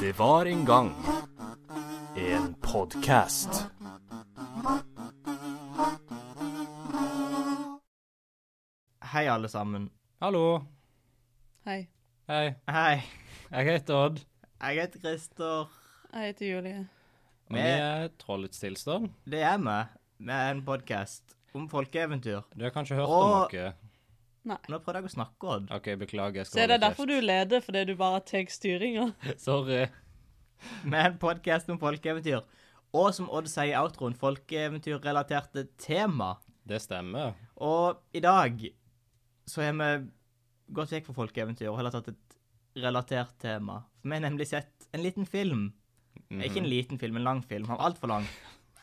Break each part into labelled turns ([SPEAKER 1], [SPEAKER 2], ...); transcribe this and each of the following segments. [SPEAKER 1] Det var en gang en podkast.
[SPEAKER 2] Hei, alle sammen.
[SPEAKER 3] Hallo.
[SPEAKER 4] Hei,
[SPEAKER 3] Hei.
[SPEAKER 2] Hei.
[SPEAKER 3] Jeg heter Odd.
[SPEAKER 2] Jeg heter Christer.
[SPEAKER 4] jeg heter Julie.
[SPEAKER 3] Og vi er Trollets tilstand.
[SPEAKER 2] Det er vi. Vi er en podkast om folkeeventyr.
[SPEAKER 3] Du har kanskje hørt
[SPEAKER 2] Og-
[SPEAKER 3] om noe?
[SPEAKER 2] Nå prøvde jeg å snakke, Odd.
[SPEAKER 3] OK, beklager. Jeg
[SPEAKER 4] Så
[SPEAKER 3] skal
[SPEAKER 4] er
[SPEAKER 3] holde
[SPEAKER 4] det derfor du leder, fordi du bare tar styringa?
[SPEAKER 3] kjeft. Sorry.
[SPEAKER 2] Vi er en podkast om folkeeventyr. Og som Odd sier i outroen, folkeeventyrrelaterte tema.
[SPEAKER 3] Det stemmer.
[SPEAKER 2] Og i dag så har vi gått vekk fra folkeeventyr og heller tatt et relatert tema. For vi har nemlig sett en liten film.
[SPEAKER 3] Mhm.
[SPEAKER 2] Ikke en liten film, en lang film. Han var altfor lang.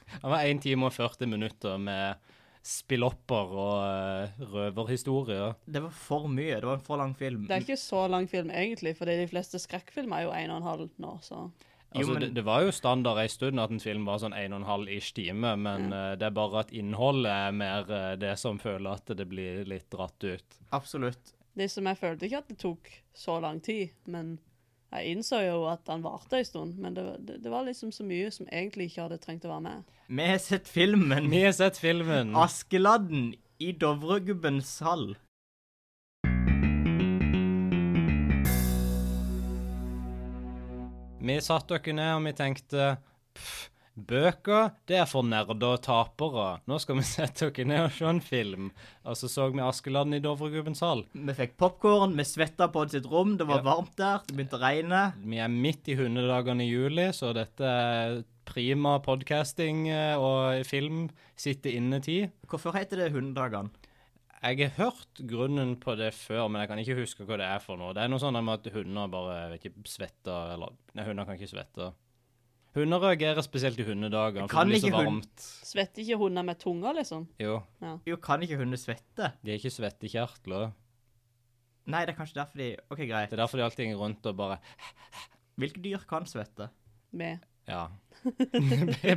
[SPEAKER 3] Det Mhm. var 1 time og 40 minutter med spillopper og eh, røverhistorier.
[SPEAKER 2] Det var for mye. Det var en for lang film.
[SPEAKER 4] Det er ikke så lang film egentlig, fordi de fleste skrekkfilmer er jo en og en halv nå, så
[SPEAKER 3] Altså,
[SPEAKER 2] men-
[SPEAKER 3] det, det var jo standard en stund at en film var sånn 1 12 ish time, men eh, det er bare at innholdet er mer eh, det som føler at det blir litt dratt ut.
[SPEAKER 2] Absolutt.
[SPEAKER 4] det som jeg følte ikke at det tok så lang tid, men jeg innså jo at den varte en stund, men det, det, det var liksom så mye som egentlig ikke hadde trengt å være med.
[SPEAKER 2] Vi har sett filmen.
[SPEAKER 3] Vi har sett filmen.
[SPEAKER 2] Askeladden i Dovregubbens hall.
[SPEAKER 3] Vi satte dere ned og vi tenkte pff, Bøker, det er for nerder og tapere. Nå skal vi sette dere ned og se en film. Og så så vi Askeladden i Dovregubbens hall.
[SPEAKER 2] Vi fikk popkorn, vi svetta på sitt rom, det var
[SPEAKER 3] Ja.
[SPEAKER 2] varmt der, det begynte å regne.
[SPEAKER 3] Vi er midt i hundedagene i juli, så dette er prima podcasting eh, og film sitter inne-tid.
[SPEAKER 2] Hvorfor heter det Hundedagene?
[SPEAKER 3] Jeg har hørt grunnen på det før, men jeg kan ikke huske hva det er for noe. Det er noe sånn med at hunder bare jeg vet ikke svetter eller Nei, hunder kan ikke svette. Hunder reagerer spesielt i hundedager, for
[SPEAKER 2] Kan
[SPEAKER 3] det blir så
[SPEAKER 2] ikke hund-
[SPEAKER 3] varmt.
[SPEAKER 4] Svetter ikke hunder med tunga, liksom?
[SPEAKER 3] Jo.
[SPEAKER 2] Jo, kan ikke hunder svette?
[SPEAKER 3] De er ikke svettekjertler.
[SPEAKER 2] Nei, det er kanskje derfor de OK, greit.
[SPEAKER 3] Det er derfor de alltid henger rundt og bare
[SPEAKER 2] Hvilke dyr kan svette?
[SPEAKER 4] Med.
[SPEAKER 3] Ja.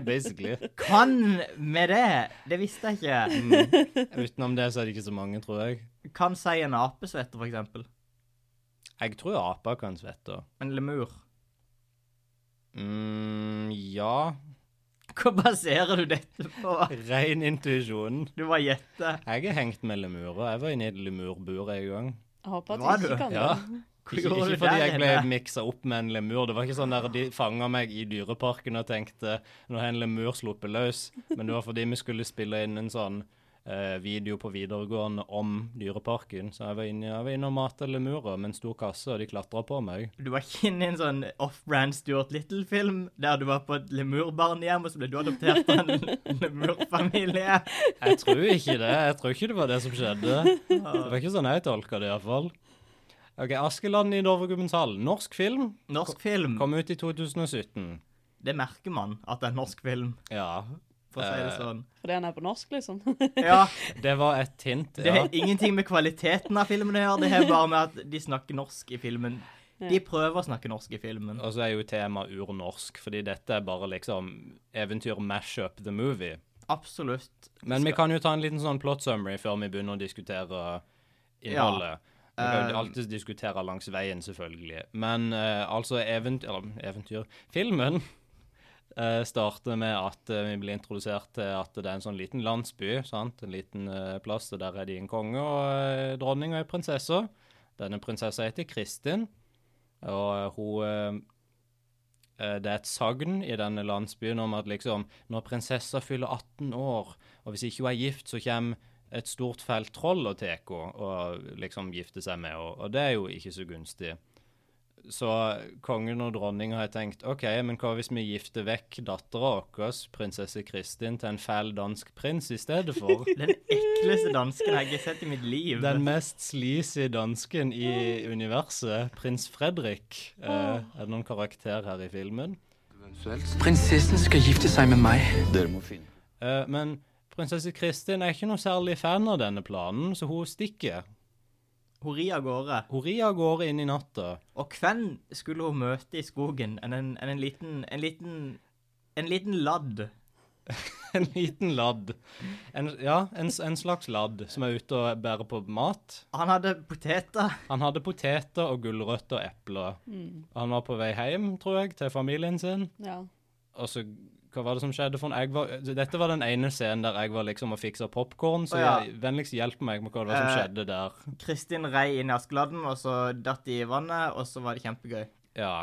[SPEAKER 3] Basically.
[SPEAKER 2] Kan med det! Det visste jeg ikke.
[SPEAKER 3] Utenom det så er det ikke så mange, tror jeg.
[SPEAKER 2] Kan si en ape svette, for eksempel?
[SPEAKER 3] Jeg tror aper kan svette.
[SPEAKER 2] En lemur.
[SPEAKER 3] Mm, ja.
[SPEAKER 2] Hva baserer du dette på?
[SPEAKER 3] Ren intuisjon.
[SPEAKER 2] Du var gjette.
[SPEAKER 3] Jeg er hengt med lemurer. Jeg var inne i et lemurbur en gang.
[SPEAKER 4] Jeg håper
[SPEAKER 2] Var
[SPEAKER 4] at du
[SPEAKER 2] du?
[SPEAKER 4] ikke kan
[SPEAKER 3] Ja.
[SPEAKER 4] det.
[SPEAKER 2] Hvor
[SPEAKER 3] Ikke,
[SPEAKER 2] gjorde
[SPEAKER 3] ikke
[SPEAKER 2] du
[SPEAKER 3] fordi
[SPEAKER 2] der
[SPEAKER 3] jeg ble
[SPEAKER 2] henne?
[SPEAKER 3] miksa opp med en lemur. Det var ikke sånn der de fanga meg i dyreparken og tenkte nå har en lemur sluppet løs. Men det var fordi vi skulle spille inn en sånn eh, video på videregående om dyreparken. Så jeg var inne, jeg var inne og mata lemurer med en stor kasse, og de klatra på meg.
[SPEAKER 2] Du var ikke inne i en sånn off-brand Stuart Little-film der du var på et lemurbarnehjem, og så ble du adoptert av en lemurfamilie.
[SPEAKER 3] Jeg tror ikke det. Jeg tror ikke det var det som skjedde. Det var ikke sånn jeg tolka det, iallfall. OK, 'Askeland i Dovregubbens hall'. Norsk film.
[SPEAKER 2] Norsk film,
[SPEAKER 3] Kom ut i 2017.
[SPEAKER 2] det merker man at det er en norsk film,
[SPEAKER 3] Ja.
[SPEAKER 2] for å si det
[SPEAKER 3] Eh.
[SPEAKER 2] sånn.
[SPEAKER 4] Fordi han er på norsk, liksom.
[SPEAKER 2] Ja,
[SPEAKER 3] Det var et hint.
[SPEAKER 2] Det
[SPEAKER 3] Ja.
[SPEAKER 2] har ingenting med kvaliteten av filmen å gjøre, det har bare med at de snakker norsk i filmen. De prøver å snakke norsk i filmen.
[SPEAKER 3] Og så er jo temaet urnorsk, fordi dette er bare liksom eventyr mashup the movie.
[SPEAKER 2] Absolutt.
[SPEAKER 3] Men vi kan jo ta en liten sånn plot summary før vi begynner å diskutere innholdet. Vi kan jo alltid diskutere langs veien, selvfølgelig. Men eh, altså event eller, eventyr Filmen eh, starter med at eh, vi blir introdusert til at det er en sånn liten landsby. sant? En liten eh, plass, og der er de en konge og eh, dronning og ei prinsesse. Denne prinsessa heter Kristin, og eh, hun eh, Eh, det er et sagn i denne landsbyen om at liksom, når prinsessa fyller 18 år, og hvis ikke hun er gift, så kommer et stort felt troll og tar henne og liksom gifter seg med henne. Og det er jo ikke så gunstig. Så kongen og dronninga har tenkt OK, men hva hvis vi gifter vekk dattera vår, prinsesse Kristin, til en fæl dansk prins i stedet for?
[SPEAKER 2] Den ekleste dansken jeg har sett i mitt liv.
[SPEAKER 3] Den mest sleazy dansken i universet, prins Fredrik. Eh, er det noen karakter her i filmen?
[SPEAKER 5] Prinsessen skal gifte seg med meg.
[SPEAKER 3] Eh, men prinsesse Kristin er ikke noe særlig fan av denne planen, så hun stikker.
[SPEAKER 2] Hun rir av gårde.
[SPEAKER 3] Hun rir av gårde inn i natta.
[SPEAKER 2] Og hvem skulle hun møte i skogen enn en, enn en liten En liten, en liten ladd?
[SPEAKER 3] en liten ladd. En, ja, en, s- en slags ladd som er ute og bærer på mat.
[SPEAKER 2] Han hadde poteter.
[SPEAKER 3] Han hadde poteter og gulrøtter og epler.
[SPEAKER 2] Mm.
[SPEAKER 3] Han var på vei hjem, tror jeg, til familien sin.
[SPEAKER 4] Ja.
[SPEAKER 3] Og så, hva var det som skjedde for en? Jeg var, dette var den ene scenen der jeg var liksom og fiksa popkorn,
[SPEAKER 2] Å,
[SPEAKER 3] så
[SPEAKER 2] ja.
[SPEAKER 3] jeg, vennligst hjelp meg med hva det var som
[SPEAKER 2] Eh.
[SPEAKER 3] skjedde der.
[SPEAKER 2] Kristin rei inn i Askeladden, og så datt de i vannet, og så var det kjempegøy.
[SPEAKER 3] Ja.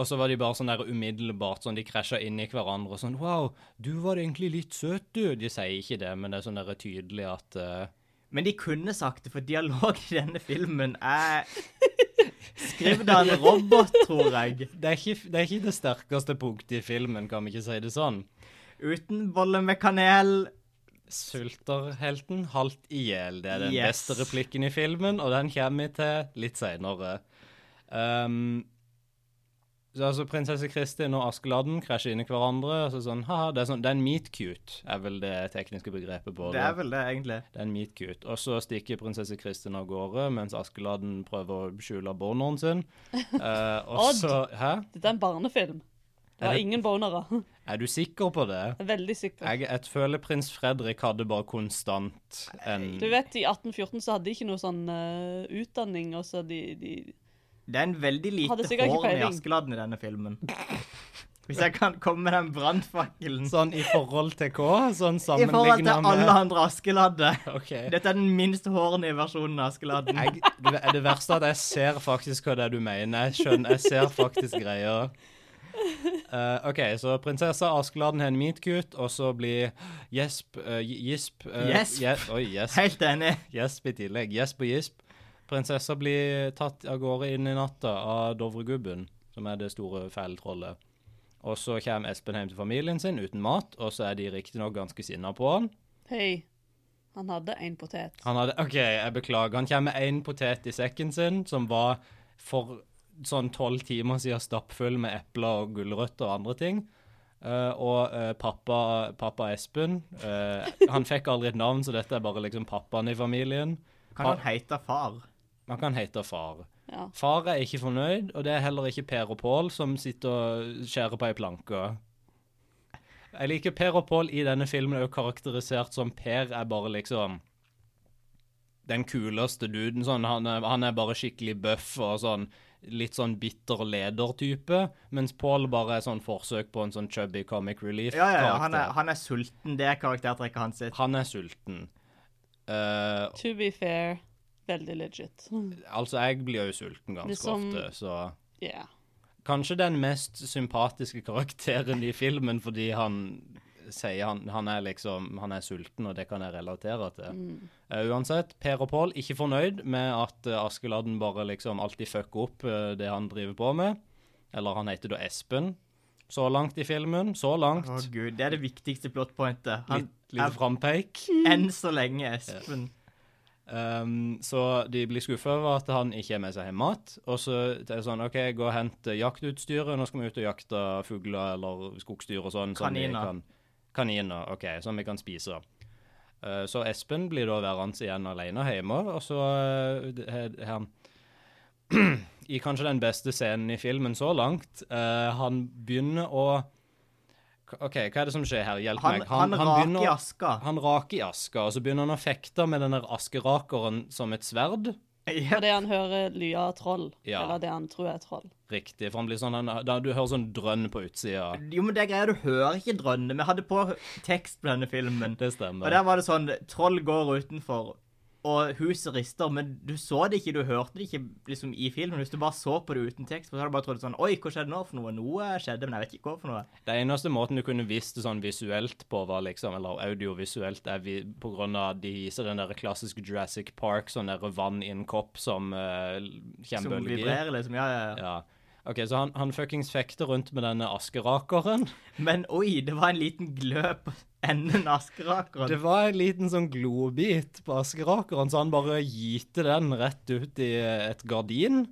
[SPEAKER 3] Og så var de bare sånn der umiddelbart, sånn de krasja inn i hverandre og sånn Wow, du var egentlig litt søt, du. De sier ikke det, men det er sånn der tydelig at eh,
[SPEAKER 2] Men de kunne sagt det, for dialog i denne filmen er skrevet av en robot, tror jeg.
[SPEAKER 3] det, er ikke, det er ikke det sterkeste punktet i filmen, kan vi ikke si det sånn.
[SPEAKER 2] Uten bolle med kanel.
[SPEAKER 3] Sulterhelten halvt i hjel. Det er den
[SPEAKER 2] Yes.
[SPEAKER 3] beste replikken i filmen, og den kommer vi til litt seinere. Um, så altså, prinsesse Kristin og Askeladden krasjer inn i hverandre. Og så sånn, haha, det er sånn, det er en meet cute, er vel det tekniske begrepet på
[SPEAKER 2] Det
[SPEAKER 3] det.
[SPEAKER 2] er vel det, egentlig.
[SPEAKER 3] Det er en meet cute. Og så stikker prinsesse Kristin av gårde, mens Askeladden prøver å skjule borneren sin. Eh, og
[SPEAKER 4] Odd.
[SPEAKER 3] så Hæ?
[SPEAKER 4] Dette er en barnefilm. Det
[SPEAKER 3] Er
[SPEAKER 4] var
[SPEAKER 3] det-
[SPEAKER 4] ingen bonere. Jeg
[SPEAKER 3] Er du sikker på det?
[SPEAKER 4] er veldig sikker.
[SPEAKER 3] Jeg, jeg føler prins Fredrik hadde bare konstant en
[SPEAKER 4] Du vet, i 1814 så hadde de ikke noe sånn eh, utdanning, og så de, de
[SPEAKER 2] Det er en veldig
[SPEAKER 4] Hadde
[SPEAKER 2] lite
[SPEAKER 4] sikkert ikke
[SPEAKER 2] hår i
[SPEAKER 4] peiling.
[SPEAKER 2] Askeladden i denne filmen. Hvis jeg kan komme med den brannfakkelen
[SPEAKER 3] Sånn i forhold til hva?
[SPEAKER 2] i forhold
[SPEAKER 3] Sånn sammenligna
[SPEAKER 2] til
[SPEAKER 3] med
[SPEAKER 2] alle andre Askeladder.
[SPEAKER 3] OK.
[SPEAKER 2] Dette er den minst hårende versjonen av Askeladden.
[SPEAKER 3] Jeg, det, det verste er at jeg ser faktisk hva det er du mener. Jeg skjønner, jeg ser faktisk greia. Eh, OK, så prinsessa Askeladden har en meatcut, og så blir gjesp eh, Gisp eh,
[SPEAKER 2] Gjesp.
[SPEAKER 3] gje- Oi, gjesp.
[SPEAKER 2] Helt enig.
[SPEAKER 3] Gjesp i tillegg. Gjesp og gisp. Prinsessa blir tatt av gårde inn i natta av Dovregubben, som er det store felltrollet. Og så kommer Espen hjem til familien sin uten mat, og så er de riktignok ganske sinna på han.
[SPEAKER 4] Hei, han hadde én potet.
[SPEAKER 3] Han hadde, ok, jeg beklager. Han kommer med én potet i sekken sin, som var for sånn tolv timer siden stappfull med epler og gulrøtter og andre ting. Eh, og eh, pappa, pappa Espen eh, Han fikk aldri et navn, så dette er bare liksom pappaen i familien.
[SPEAKER 2] Kan han hete far?
[SPEAKER 3] Man kan hete far.
[SPEAKER 4] Ja.
[SPEAKER 3] Far er ikke fornøyd, og det er heller ikke Per og Pål som sitter og skjærer på ei planke. Jeg liker Per og Pål i denne filmen er jo karakterisert som Per er bare liksom den kuleste duden. Sånn, han, er, han er bare skikkelig bøff og sånn litt sånn bitter leder-type, mens Pål bare er sånn forsøk på en sånn chubby comic
[SPEAKER 2] Ja, ja, ja.
[SPEAKER 3] relief-karakter.
[SPEAKER 2] Han, er, han er sulten. Det er karaktertrekket hans sitt.
[SPEAKER 3] han er sulten. Eh,
[SPEAKER 4] To be fair, veldig legit.
[SPEAKER 2] Mm.
[SPEAKER 3] altså, jeg blir jo sulten ganske
[SPEAKER 4] Liksom-
[SPEAKER 3] ofte, så
[SPEAKER 4] Yeah.
[SPEAKER 3] kanskje den mest sympatiske karakteren i filmen, fordi han sier han, han er liksom Han er sulten, og det kan jeg relatere til. Eh, uansett, Per og Pål ikke fornøyd med at eh, Askeladden bare liksom alltid fucker opp eh, det han driver på med. Eller han heter da Espen. Så langt i filmen. Så langt.
[SPEAKER 2] Å gud, Det er det viktigste plotpointet. Han
[SPEAKER 3] Litt, lite frampeik.
[SPEAKER 2] er enn så lenge Espen.
[SPEAKER 3] Um, så de blir skuffa over at han ikke har med seg hjem mat. Og så det er det sånn OK, gå og hent eh, jaktutstyret. Nå skal vi ut og jakte fugler eller skogsdyr og sånn. som vi
[SPEAKER 2] Kaniner.
[SPEAKER 3] Kan, kaniner. OK, som vi kan spise. Eh, så Espen blir da værende igjen alene hjemme, og så eh, det- har han I kanskje den beste scenen i filmen så langt. eh, han begynner å OK, hva er det som skjer her? Hjelp
[SPEAKER 2] Han,
[SPEAKER 3] meg.
[SPEAKER 2] han,
[SPEAKER 3] begynner
[SPEAKER 2] raker i
[SPEAKER 3] å-
[SPEAKER 2] aska.
[SPEAKER 3] han raker i aska, og så begynner han å fekte med den der askerakeren som et sverd.
[SPEAKER 2] Ja,
[SPEAKER 4] Fordi han hører lya av troll,
[SPEAKER 3] Ja.
[SPEAKER 4] eller det han tror er troll.
[SPEAKER 3] Riktig, for han blir sånn, han, da, du hører sånn drønn på utsida.
[SPEAKER 2] Jo, men det er greia, du hører ikke drønne. Vi hadde på tekst på denne filmen,
[SPEAKER 3] Det
[SPEAKER 2] og
[SPEAKER 3] stemmer.
[SPEAKER 2] der var det sånn Troll går utenfor, og huset rister, men du så det ikke, du hørte det ikke liksom i filmen. Hvis du bare så på det uten tekst, så hadde du bare trodd sånn Oi, hva skjedde nå for noe? Noe skjedde, men jeg vet ikke hva for noe.
[SPEAKER 3] Det eneste måten du kunne visst det sånn visuelt på, var liksom, eller audiovisuelt, er vi, på grunn av de viser den der klassiske Jurassic Park, sånn der vann i en kopp som uh,
[SPEAKER 2] Som
[SPEAKER 3] kommer bølger.
[SPEAKER 2] vibrerer, liksom. Ja, ja, ja.
[SPEAKER 3] Ja. OK, så han, han fuckings fekter rundt med denne askerakeren.
[SPEAKER 2] Men oi, det var en liten gløp på enden av askerakeren.
[SPEAKER 3] Det var en liten sånn globit på askerakeren, så han bare gyter den rett ut i et gardin.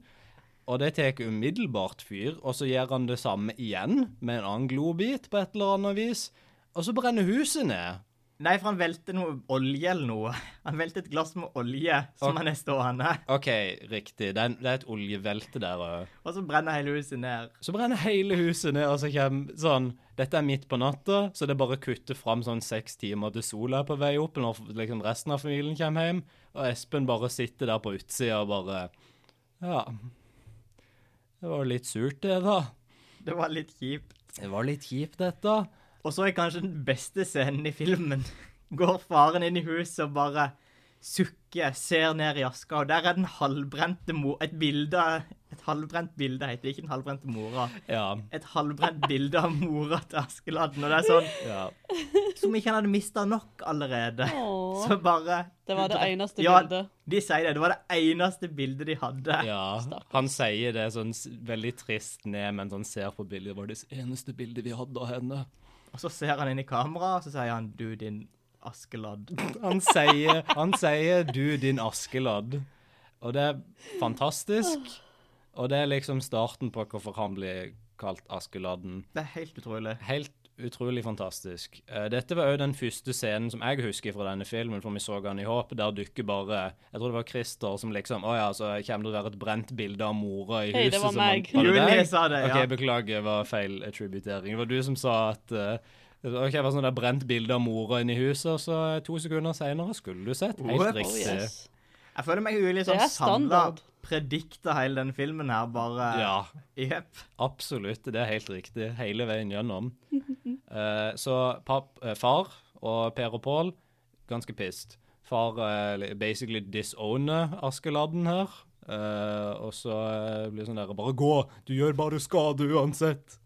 [SPEAKER 3] Og det tar umiddelbart fyr, og så gjør han det samme igjen med en annen globit på et eller annet vis. Og så brenner huset ned.
[SPEAKER 2] Nei, for han velte noe olje eller noe. Han velte et glass med olje som
[SPEAKER 3] Ok.
[SPEAKER 2] han er stående.
[SPEAKER 3] OK, riktig. Det er, en- det er et oljevelte der. Og
[SPEAKER 2] Og så brenner hele huset ned.
[SPEAKER 3] så brenner hele huset ned, og så kommer sånn Dette er midt på natta, så det er bare å kutte fram sånn seks timer til sola er på vei opp, når liksom resten av familien kommer hjem, og Espen bare sitter der på utsida og bare Ja. Det var litt surt, det, da.
[SPEAKER 2] Det var litt kjipt.
[SPEAKER 3] Det var litt kjipt, dette.
[SPEAKER 2] Og så er kanskje den beste scenen i filmen. Går faren inn i huset og bare sukker, ser ned i aska, og der er den halvbrente mo... Et bilde Et halvbrent bilde heter det, ikke den halvbrente mora.
[SPEAKER 3] Ja.
[SPEAKER 2] Et halvbrent bilde av mora til Askeladden, og det er sånn
[SPEAKER 3] ja.
[SPEAKER 2] Som ikke han hadde mista nok allerede.
[SPEAKER 4] Åh.
[SPEAKER 2] Så bare
[SPEAKER 4] Det var det eneste
[SPEAKER 2] Ja,
[SPEAKER 4] bildet.
[SPEAKER 2] de sier det. Det var det eneste bildet de hadde.
[SPEAKER 3] Ja, han sier det sånn s- veldig trist ned mens han ser på bildet. Det var det eneste bildet vi hadde av henne.
[SPEAKER 2] Og så ser han inn i kameraet, og så sier han 'du, din Askeladd'.
[SPEAKER 3] Han sier, han sier 'du, din askeladd'. Og det er fantastisk. Og det er liksom starten på hvorfor han blir kalt Askeladden.
[SPEAKER 2] Det er helt utrolig.
[SPEAKER 3] Helt utrolig fantastisk. Eh, Dette var òg den første scenen som jeg husker fra denne filmen, for vi så han i Håp. Der dukker bare Jeg tror det var Christer som liksom Å ja, så kommer det å være et brent bilde av mora i huset.
[SPEAKER 4] Hei, det var
[SPEAKER 3] som han-
[SPEAKER 4] meg.
[SPEAKER 3] Var det
[SPEAKER 2] Julie
[SPEAKER 3] deg?
[SPEAKER 2] sa det, ja.
[SPEAKER 3] Ok, beklager, det var feil attributering. Det var du som sa at eh, Ok, det var sånn der brent bilde av mora inne i huset, og så to sekunder seinere skulle du sett. Helt
[SPEAKER 2] Whoops.
[SPEAKER 4] Oh,
[SPEAKER 3] riktig.
[SPEAKER 4] yes.
[SPEAKER 2] Jeg føler meg ulig
[SPEAKER 4] Det
[SPEAKER 2] sånn samla
[SPEAKER 4] er standard.
[SPEAKER 2] predikta hele den filmen her, bare
[SPEAKER 3] Ja.
[SPEAKER 2] Jepp.
[SPEAKER 3] Absolutt, det er helt riktig. Hele veien gjennom. Eh, så papp, eh, far og Per og Pål, ganske pissed. Far eh, basically disowner Askeladden her. eh, og så eh, blir det sånn der Bare gå! Du gjør bare skade uansett!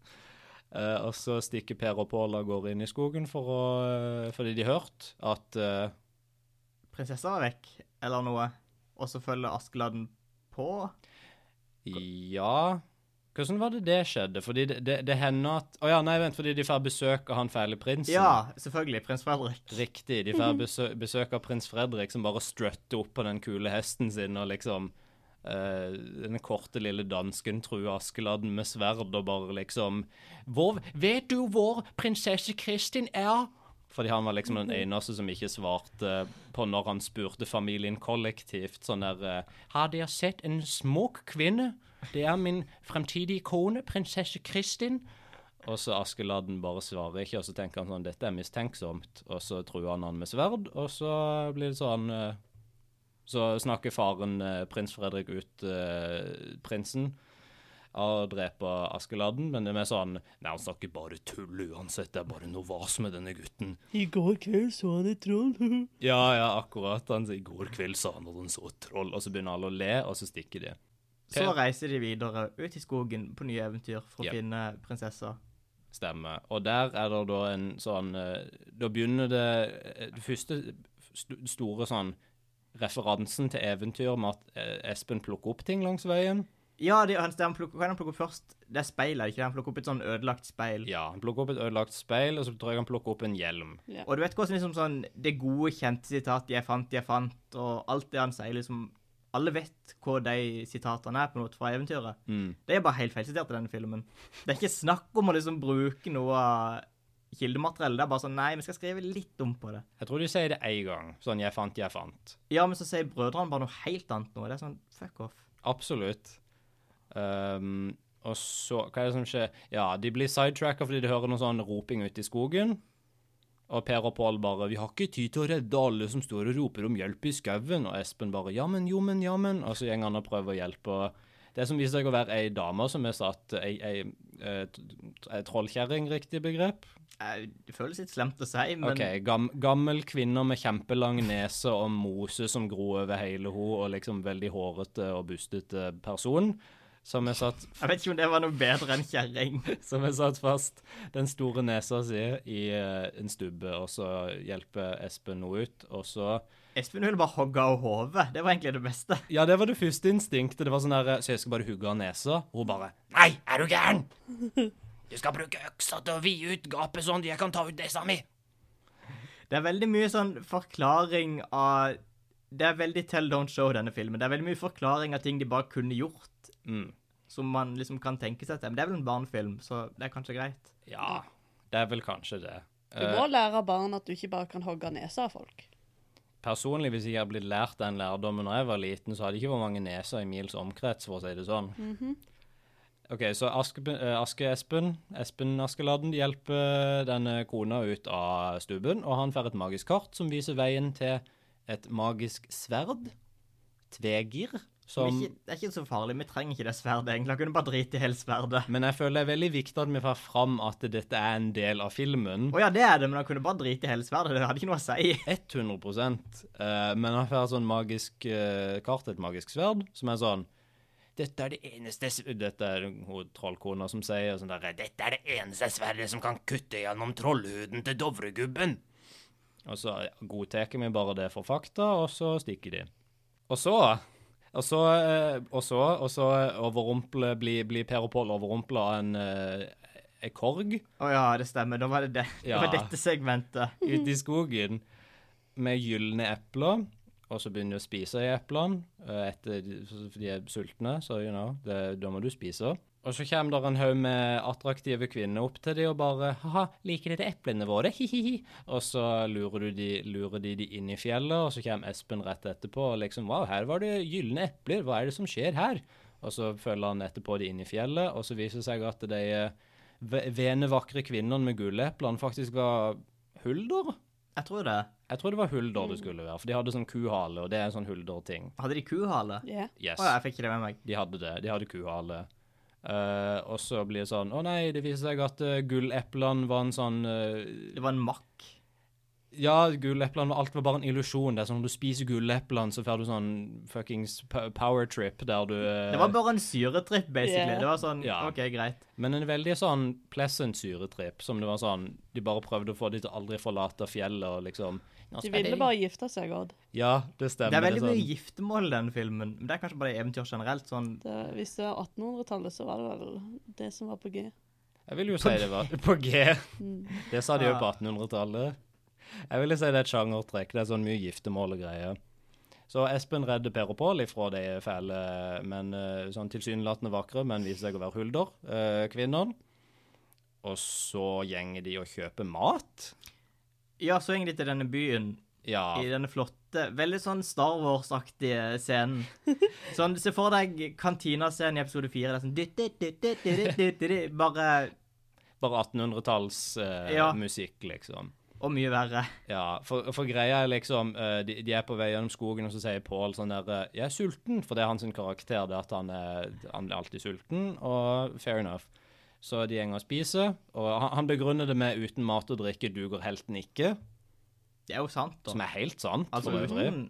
[SPEAKER 3] Eh, og så stikker Per og Pål av gårde inn i skogen for å, eh, fordi de har hørt at eh,
[SPEAKER 2] Prinsessa var vekk, eller noe. Og så følger Askeladden på.
[SPEAKER 3] Ja Hvordan var det det skjedde? Fordi det, det, det hender at Å ja, nei, vent, fordi de får besøk av han fæle prinsen.
[SPEAKER 2] Ja, selvfølgelig. Prins Fredrik.
[SPEAKER 3] Riktig. De får besø besøk av prins Fredrik, som bare strutter opp på den kule hesten sin og liksom eh, Den korte, lille dansken truer Askeladden med sverd og bare liksom hvor, 'Vet du hvor prinsesse Kristin er?' Fordi han var liksom den eneste som ikke svarte på når han spurte familien kollektivt sånn der eh, 'Har dere sett en smuk kvinne? Det er min fremtidige kone, prinsesse Kristin.' Og så Askeladden bare svarer ikke, og så tenker han sånn 'Dette er mistenksomt', og så truer han han med sverd, og så blir det sånn eh, Så snakker faren eh, prins Fredrik ut eh, prinsen av å drepe Askeladden, men det er mer sånn 'Nei, han snakker bare tull uansett, det er bare noe vas med denne gutten'.
[SPEAKER 4] I går kveld så han et troll.
[SPEAKER 3] Ja, ja, akkurat. Han sier 'I går kveld sa han at han så et troll', og så begynner alle å le, og så stikker de.
[SPEAKER 2] Så reiser de videre ut i skogen på nye eventyr for å
[SPEAKER 3] Jepp.
[SPEAKER 2] finne prinsessa.
[SPEAKER 3] Stemmer. Og der er det da en sånn eh, Da begynner det eh, det første st store sånn referansen til eventyr med at eh, Espen plukker opp ting langs veien.
[SPEAKER 2] Ja, de, han, han plukker, hva er det han plukker opp først? Det er speilet, er det ikke det? Han plukker opp et sånn ødelagt speil.
[SPEAKER 3] Ja, han plukker opp et ødelagt speil, og så tror jeg han plukker opp en hjelm.
[SPEAKER 4] Ja.
[SPEAKER 2] Og du vet hvordan liksom sånn det gode, kjente sitatet 'jeg fant, jeg fant', og alt det han sier, liksom Alle vet hva de sitatene er på noe fra eventyret. Det er bare helt feilsitert i denne filmen. Det er ikke snakk om å liksom bruke noe av kildemateriellet. Det er bare sånn Nei, vi skal skrive litt om på det.
[SPEAKER 3] Jeg tror de sier det én gang. Sånn 'jeg fant, jeg fant'.
[SPEAKER 2] Ja, men så sier brødrene bare noe helt annet nå. Det er sånn fuck off.
[SPEAKER 3] Absolutt. Ehm, og så Hva er det som skjer? Ja, de blir sidetracka fordi de hører noe sånn roping ute i skogen. Og Per og Pål bare 'Vi har ikke tid til å redde alle som står og roper om hjelp i skauen'. Og Espen bare 'Jammen, jommen, jammen'. Og så går han og prøver å hjelpe. og Det som viser seg å være ei dame som er satt Ei, ei, eh, t- ei trollkjerring, riktig begrep?
[SPEAKER 2] Eh, Det føles litt slemt å si, men
[SPEAKER 3] OK. Gam, gammel kvinne med kjempelang nese og mose som gror over hele henne, og liksom veldig hårete og bustete person, som er satt
[SPEAKER 2] jeg vet ikke om det var noe bedre enn kjerring.
[SPEAKER 3] som er satt fast den store nesa si i eh, en stubbe, og så hjelper Espen henne ut, og så
[SPEAKER 2] Espen ville bare hogge av hodet. Det var egentlig det beste.
[SPEAKER 3] Ja, det var det første instinktet. Det var sånn der Så jeg skal bare hugge av nesa. Og hun bare Nei, er du gæren? Du skal bruke øksa til å vide ut gapet sånn at jeg kan ta ut nesa mi.
[SPEAKER 2] Det er veldig mye sånn forklaring av Det er veldig Tell Don't Show, denne filmen. Det er veldig mye forklaring av ting de bare kunne gjort,
[SPEAKER 3] Mm.
[SPEAKER 2] som man liksom kan tenke seg til. Men det er vel en barnefilm, så det er kanskje greit.
[SPEAKER 3] Ja, det er vel kanskje det.
[SPEAKER 4] Du må lære barn at du ikke bare kan hogge nesa av folk.
[SPEAKER 3] Personlig, hvis jeg hadde blitt lært den lærdommen da jeg var liten, så hadde det ikke vært mange neser i mils omkrets, for å si det sånn.
[SPEAKER 2] Mhm.
[SPEAKER 3] OK, så Aske, eh, Aske Espen, Espen Askeladden, hjelper denne kona ut av stubben, og han får et magisk kart som viser veien til et magisk sverd, tvegir,
[SPEAKER 2] Det er
[SPEAKER 3] som
[SPEAKER 2] ikke, det er ikke så farlig. Vi trenger ikke det sverdet, egentlig. Han kunne bare drite i hele sverdet.
[SPEAKER 3] Men jeg føler det er veldig viktig at vi får fram at dette er en del av filmen.
[SPEAKER 2] Å ja, det er det, men han kunne bare drite i hele sverdet. Det hadde ikke noe å si.
[SPEAKER 3] 100 eh, Men han får et sånn magisk eh, kart, et magisk sverd, som er sånn Dette er det eneste s- Dette er hun trollkona som sier sånn der Dette er det eneste sverdet som kan kutte gjennom trollhuden til Dovregubben. Og så godtar vi bare det for fakta, og så stikker de. Og så og så, eh, og så, og så overrumple, blir blir Per og Pål overrumpla av en, eh, en korg
[SPEAKER 2] Å ja, det stemmer. Da var det det.
[SPEAKER 3] Ja.
[SPEAKER 2] Det var dette segmentet.
[SPEAKER 3] ute i skogen med gylne epler, og så begynner de å spise i eplene. eh, Etter, for de er sultne, så you know, det, da må du spise. Og så kommer der en haug med attraktive kvinner opp til de og bare ha liker dere eplene våre? Hi-hi-hi. Og så lurer, du de, lurer de de inn i fjellet, og så kommer Espen rett etterpå og liksom Wow, her var det gylne epler, hva er det som skjer her? Og så følger han etterpå de inn i fjellet, og så viser det seg at de eh, ve- vene, vakre kvinnene med gulleplene faktisk var hulder?
[SPEAKER 2] Jeg tror det.
[SPEAKER 3] Jeg tror det var hulder
[SPEAKER 2] Mm.
[SPEAKER 3] det skulle være, for de hadde sånn kuhale, og det er en sånn hulderting.
[SPEAKER 2] Hadde de kuhale? Å
[SPEAKER 4] Ja.
[SPEAKER 3] Yes,
[SPEAKER 2] ja, jeg fikk ikke det med meg.
[SPEAKER 3] de hadde det. De hadde kuhale. Eh, og så blir det sånn Å nei, det viser seg at uh, gulleplene var en sånn eh,
[SPEAKER 2] Det var en makk.
[SPEAKER 3] Ja, gulleplene var alt var bare en illusjon. Det er sånn når du spiser gulleplene, så får du sånn fuckings po- power trip der du eh,
[SPEAKER 2] Det var bare en syretripp, basically.
[SPEAKER 4] Ja.
[SPEAKER 2] Det var sånn
[SPEAKER 3] Ja.
[SPEAKER 2] OK, greit.
[SPEAKER 3] Men en veldig sånn pleasant syretripp, som det var sånn De bare prøvde å få de til å aldri forlate fjellet og liksom «Nå
[SPEAKER 4] De
[SPEAKER 3] skal
[SPEAKER 4] ville
[SPEAKER 3] de-
[SPEAKER 4] bare gifte seg, Odd.
[SPEAKER 3] Ja, det stemmer.
[SPEAKER 2] Det er veldig
[SPEAKER 3] sånn-
[SPEAKER 2] mye giftermål i den filmen. Men det er kanskje bare i eventyr generelt. Sånn
[SPEAKER 4] Det- Hvis det er 1800-tallet, så var det vel det som var på G.
[SPEAKER 3] Jeg vil jo si det var på G. Mm. Det sa de jo på 1800-tallet. Jeg ville si det er et sjangertrekk. Det er sånn mye giftermål og greier. Så Espen redder Per og Pål ifra de fæle, men eh, sånn tilsynelatende vakre, men viser seg å være hulder, eh, kvinnene. Og så gjenger de og kjøper mat.
[SPEAKER 2] Ja, så gikk de til denne byen,
[SPEAKER 3] Ja.
[SPEAKER 2] i denne flotte, veldig sånn Star Wars-aktige scenen. Sånn, Se for deg kantina-scenen i episode fire. Det er sånn dytt, dytt, dytt, dytt, dytt, dytt, dytt, Bare
[SPEAKER 3] Bare 1800-tallsmusikk,
[SPEAKER 2] Ja.
[SPEAKER 3] musikk, liksom.
[SPEAKER 2] Og mye verre.
[SPEAKER 3] Ja, for, for greia er liksom eh, de, de er på vei gjennom skogen, og så sier Pål sånn der eh, 'Jeg er sulten', for det er hans sin karakter, det at han er, han er alltid sulten, og fair enough. Så de gjenger og spiser, og han, han begrunner det med 'uten mat og drikke duger helten ikke',
[SPEAKER 2] Det er jo sant, da.
[SPEAKER 3] som er helt sant.
[SPEAKER 2] Altså
[SPEAKER 3] for øvrig.
[SPEAKER 2] uten,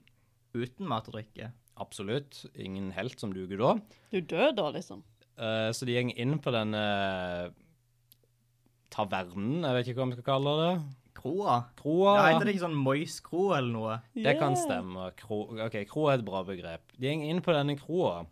[SPEAKER 2] uten mat og drikke.
[SPEAKER 3] Absolutt. Ingen helt som duger da.
[SPEAKER 4] Du dør da, liksom.
[SPEAKER 3] Eh, så de gjenger inn på denne tavernen, jeg vet ikke hva vi skal kalle det.
[SPEAKER 2] Kroa.
[SPEAKER 3] Kroa.
[SPEAKER 2] Ja, heter det ikke sånn Mois-kro eller noe?
[SPEAKER 3] Det kan
[SPEAKER 4] Yeah.
[SPEAKER 3] stemme. Kro, ok, kro er et bra begrep. De går inn på denne kroa,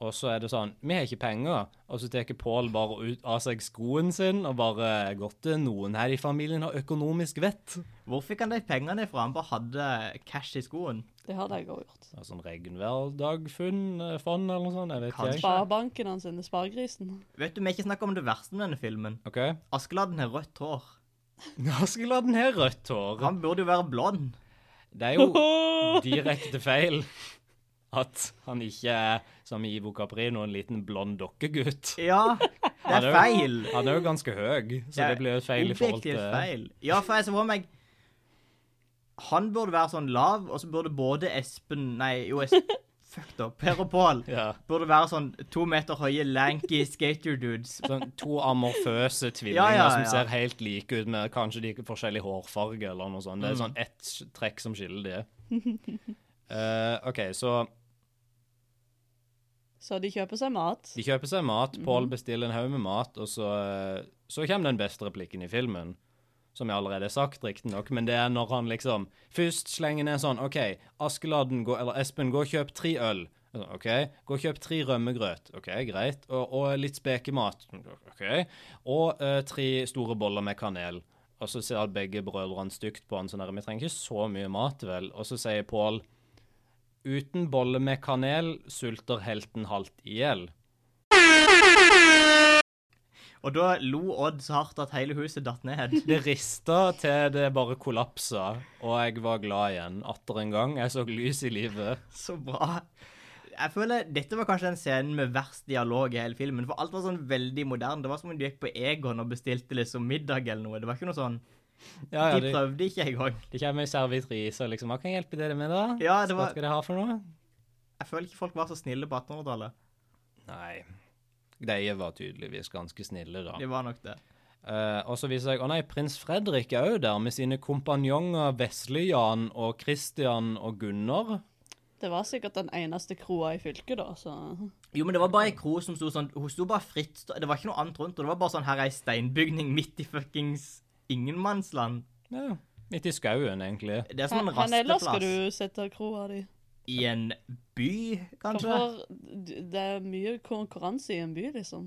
[SPEAKER 3] og så er det sånn Vi har ikke penger. Og så tar Pål bare ut av seg skoen sin og bare Godt det er noen her i familien har økonomisk vett.
[SPEAKER 2] Hvor fikk han de pengene fra? Han bare hadde cash i skoen.
[SPEAKER 4] Det hadde jeg òg gjort.
[SPEAKER 3] Det er sånn Regnværdagfond eh, fond eller noe sånt. Jeg vet ikke. jeg.
[SPEAKER 4] Sparebanken hans, denne sparegrisen.
[SPEAKER 2] Vet du, Vi har ikke snakka om det verste med denne filmen.
[SPEAKER 3] OK.
[SPEAKER 2] Askeladden har rødt hår.
[SPEAKER 3] Askeladden har rødt hår.
[SPEAKER 2] Han burde jo være blond.
[SPEAKER 3] Det er jo direkte feil at han ikke er, som Ivo Caprino, en liten blond dokkegutt.
[SPEAKER 2] Ja, det er
[SPEAKER 3] Han jo-
[SPEAKER 2] feil.
[SPEAKER 3] Han er jo ganske høy, så det blir jo feil i forhold til
[SPEAKER 2] Objektivt feil. Ja, for jeg så for meg Han burde være sånn lav, og så burde både Espen Nei, jo, Espen Fuck da. Per og Pål
[SPEAKER 3] Ja.
[SPEAKER 2] burde være sånn to meter høye, lanky skater-dudes.
[SPEAKER 3] Sånn to amorføse tvillinger
[SPEAKER 2] Ja, ja,
[SPEAKER 3] som
[SPEAKER 2] ja.
[SPEAKER 3] ser helt like ut med kanskje de forskjellig hårfarge eller noe sånt. Det
[SPEAKER 2] Mm.
[SPEAKER 3] er sånn ett trekk som skiller de. Eh, OK, så
[SPEAKER 4] Så de kjøper seg mat.
[SPEAKER 3] de kjøper seg mat. Pål bestiller en haug med mat, og så, eh, så kommer den beste replikken i filmen. Som jeg allerede har sagt, riktignok, men det er når han liksom først slenger ned sånn OK, Askeladden går, eller Espen, gå og kjøp tre øl. Jeg sånn, OK, gå og kjøp tre rømmegrøt. OK, greit. Og, og litt spekemat. OK. Og eh, tre store boller med kanel. Og så ser begge brødrene stygt på han sånn der, vi trenger ikke så mye mat, vel. Og så sier Pål Uten bolle med kanel sulter helten halvt i hjel.
[SPEAKER 2] Og da lo Odd så hardt at hele huset datt ned.
[SPEAKER 3] Det rista til det bare kollapsa, og jeg var glad igjen. Atter en gang. Jeg så lys i livet.
[SPEAKER 2] Så bra. Jeg føler Dette var kanskje den scenen med verst dialog i hele filmen. For alt var sånn veldig moderne. Det var som om du gikk på Egon og bestilte liksom middag eller noe. Det var ikke noe sånn
[SPEAKER 3] Ja, ja,
[SPEAKER 2] De
[SPEAKER 3] det,
[SPEAKER 2] prøvde ikke engang.
[SPEAKER 3] det kommer ei servitrise og liksom Hva kan jeg hjelpe dere med, da?
[SPEAKER 2] Ja, det
[SPEAKER 3] Hva
[SPEAKER 2] var-
[SPEAKER 3] skal dere ha for noe?
[SPEAKER 2] Jeg føler ikke folk var så snille på 1800-tallet.
[SPEAKER 3] Nei. De var tydeligvis ganske snille, da.
[SPEAKER 2] De var nok det.
[SPEAKER 3] Eh, og så viser jeg Å nei, prins Fredrik er òg der med sine kompanjonger Vesle-Jan og Christian og Gunnar.
[SPEAKER 4] Det var sikkert den eneste kroa i fylket, da, så
[SPEAKER 2] Jo, men det var bare ei kro som sto sånn Hun sto bare fritt. Det var ikke noe annet rundt. Og det var bare sånn her er ei steinbygning midt i fuckings ingenmannsland.
[SPEAKER 3] Ja, midt i skauen, egentlig.
[SPEAKER 2] Det er som
[SPEAKER 4] Han,
[SPEAKER 2] en
[SPEAKER 4] han ellers skal
[SPEAKER 2] rasteplass.
[SPEAKER 4] du sette kroa di.
[SPEAKER 2] I en by, kanskje?
[SPEAKER 4] Hvorfor Det er mye konkurranse i en by, liksom.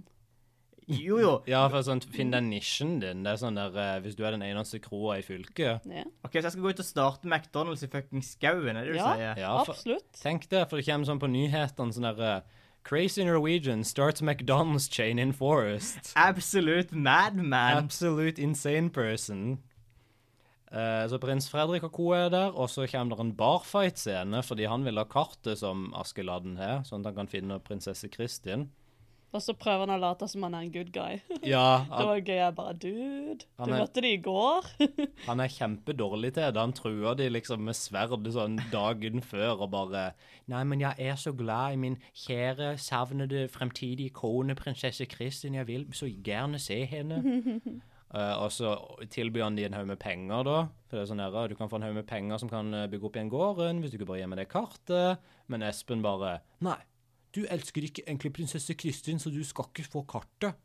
[SPEAKER 2] Jo, jo.
[SPEAKER 3] Ja, for sånn, finn den nisjen din. Det er sånn der, eh, Hvis du er den eneste kroa i fylket
[SPEAKER 4] Ja,
[SPEAKER 2] OK, så jeg skal gå ut og starte McDonald's i fuckings skauen, er det det du
[SPEAKER 4] Ja.
[SPEAKER 2] sier?
[SPEAKER 3] Ja, for,
[SPEAKER 4] absolutt.
[SPEAKER 3] tenk det, for det kommer sånn på nyhetene sånn derre Crazy Norwegian starts McDonald's chain in forest.
[SPEAKER 2] Absolute madman.
[SPEAKER 3] Absolute insane person. Eh, så prins Fredrik og co. er der, og så kommer det en barfight-scene fordi han vil ha kartet som Askeladden har, sånn at han kan finne prinsesse Kristin.
[SPEAKER 4] Og så prøver han å late som han er en good guy.
[SPEAKER 3] Ja,
[SPEAKER 4] Det
[SPEAKER 3] han,
[SPEAKER 4] var gøy. Jeg bare Dude,
[SPEAKER 3] Han
[SPEAKER 4] du
[SPEAKER 3] er-
[SPEAKER 4] møtte de i går.
[SPEAKER 3] han er kjempedårlig til det. Han truer de liksom med sverd sånn dagen før og bare Nei, men jeg er så glad i min kjære, savnede, fremtidige kone, prinsesse Kristin. Jeg vil så gjerne se henne. Eh, og så tilbyr han de en haug med penger, da. For det er sånn her, Du kan få en haug med penger som kan eh, bygge opp igjen gården, hvis du ikke bare gir meg det kartet. Men Espen bare Nei, du elsker ikke egentlig prinsesse Kristin, så du skal ikke få kartet.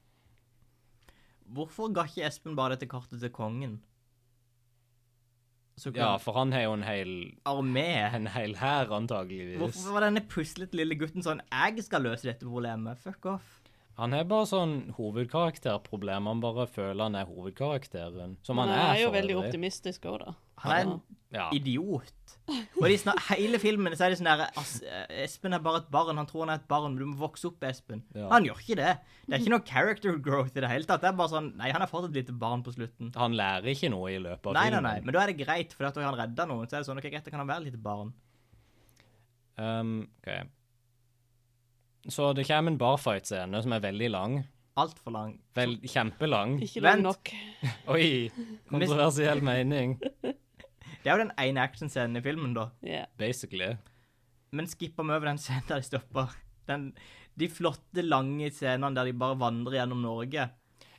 [SPEAKER 2] Hvorfor ga ikke Espen bare dette kartet til kongen? Så
[SPEAKER 3] Ja,
[SPEAKER 2] kunne
[SPEAKER 3] for han har jo en hel
[SPEAKER 2] armé
[SPEAKER 3] en hel hær, antageligvis.
[SPEAKER 2] Hvorfor var denne puslete lille gutten sånn 'Jeg skal løse dette problemet'? Fuck off.
[SPEAKER 3] Han er bare sånn hovedkarakterproblem. Han bare føler han er hovedkarakteren. Som
[SPEAKER 4] Men
[SPEAKER 3] han,
[SPEAKER 4] han er jo
[SPEAKER 3] for
[SPEAKER 4] veldig
[SPEAKER 3] øvrig.
[SPEAKER 4] optimistisk òg, da.
[SPEAKER 2] Han er en
[SPEAKER 3] Ja.
[SPEAKER 2] idiot. Og de snak, hele filmen så er de sånn der "Ass, eh, Espen er bare et barn. Han tror han er et barn, men du må vokse opp, Espen.
[SPEAKER 3] Ja.
[SPEAKER 2] Han gjør ikke det. Det er ikke noe character growth i det hele tatt. Det er bare sånn Nei, han er fortsatt et lite barn på slutten.
[SPEAKER 3] Han lærer ikke noe i løpet av
[SPEAKER 2] Nei, nei,
[SPEAKER 3] filmen.
[SPEAKER 2] nei. Men da er det greit, for da har han redda noen. Så er det sånn, ok, greit, da kan han være et lite barn.
[SPEAKER 3] Um, ok. Så det kommer en barfight-scene som er veldig lang.
[SPEAKER 2] Altfor lang.
[SPEAKER 3] Vel, kjempelang.
[SPEAKER 4] Ikke lang
[SPEAKER 2] Vent.
[SPEAKER 4] nok.
[SPEAKER 3] Oi! Kontroversiell mening,
[SPEAKER 2] Det er jo den ene actionscenen i filmen, da.
[SPEAKER 4] Yeah.
[SPEAKER 3] basically.
[SPEAKER 2] Men skipper vi over den scenen der de stopper. Den, de flotte, lange scenene der de bare vandrer gjennom Norge.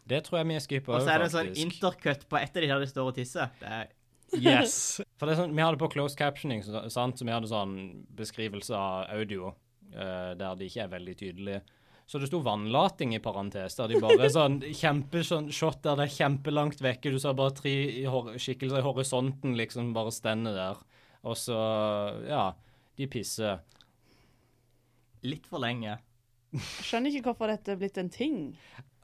[SPEAKER 3] Det tror jeg vi skipper
[SPEAKER 2] Og
[SPEAKER 3] over,
[SPEAKER 2] så er det en sånn
[SPEAKER 3] faktisk.
[SPEAKER 2] intercut på ett av de der de står og tisser. Det er,
[SPEAKER 3] Yes. For det er sånn, vi hadde på close captioning, så- sant, så vi hadde sånn beskrivelse av audio, eh, der det ikke er veldig tydelig. Så det sto vannlating i parentes, der de bare sånn kjempe sånn shot der det er kjempelangt vekke, du ser bare tre i hor- skikkelser i horisonten liksom bare stende der. Og så, ja, de pisser.
[SPEAKER 2] litt for lenge.
[SPEAKER 4] Jeg skjønner ikke hvorfor dette er blitt en ting.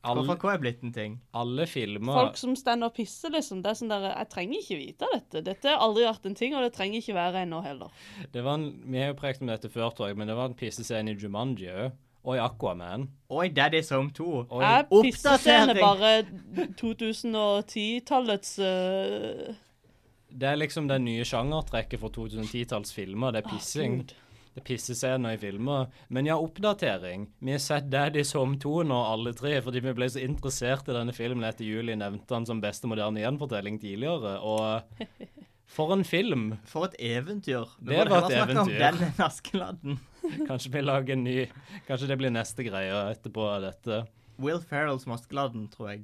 [SPEAKER 3] Alle,
[SPEAKER 2] Hvorfor hva er blitt en ting?
[SPEAKER 3] alle filmer...
[SPEAKER 4] Folk som stender og pisser, liksom. Det er sånn der, Jeg trenger ikke vite dette. Dette har aldri vært en ting, og det trenger ikke være en nå heller.
[SPEAKER 3] Det var en, vi har jo prekt om dette før, tror jeg, men det var en pissescene i Jumanji også, og i Aquaman.
[SPEAKER 2] Oi, Daddy's Home 2.
[SPEAKER 3] Og i-
[SPEAKER 4] Jeg pisser
[SPEAKER 2] Oppdatering!
[SPEAKER 4] scene bare 2010-tallets øh,
[SPEAKER 3] Det er liksom det nye sjangertrekket for 2010-talls filmer. Det er pissing.
[SPEAKER 4] Gud.
[SPEAKER 3] det er pissescener i filmer. Men ja, oppdatering. Vi har sett Daddy's Home 2 nå, alle tre, fordi vi ble så interessert i denne filmen etter Julie nevnte han som beste moderne gjenfortelling tidligere. Og for en film!
[SPEAKER 2] For et eventyr. Vi
[SPEAKER 3] Det
[SPEAKER 2] burde
[SPEAKER 3] var et
[SPEAKER 2] heller snakke om
[SPEAKER 3] eventyr.
[SPEAKER 2] Den enn Askeladden.
[SPEAKER 3] Kanskje vi lager en ny Kanskje det blir neste greie etterpå av dette.
[SPEAKER 2] Will Ferrell som Askeladden, tror jeg.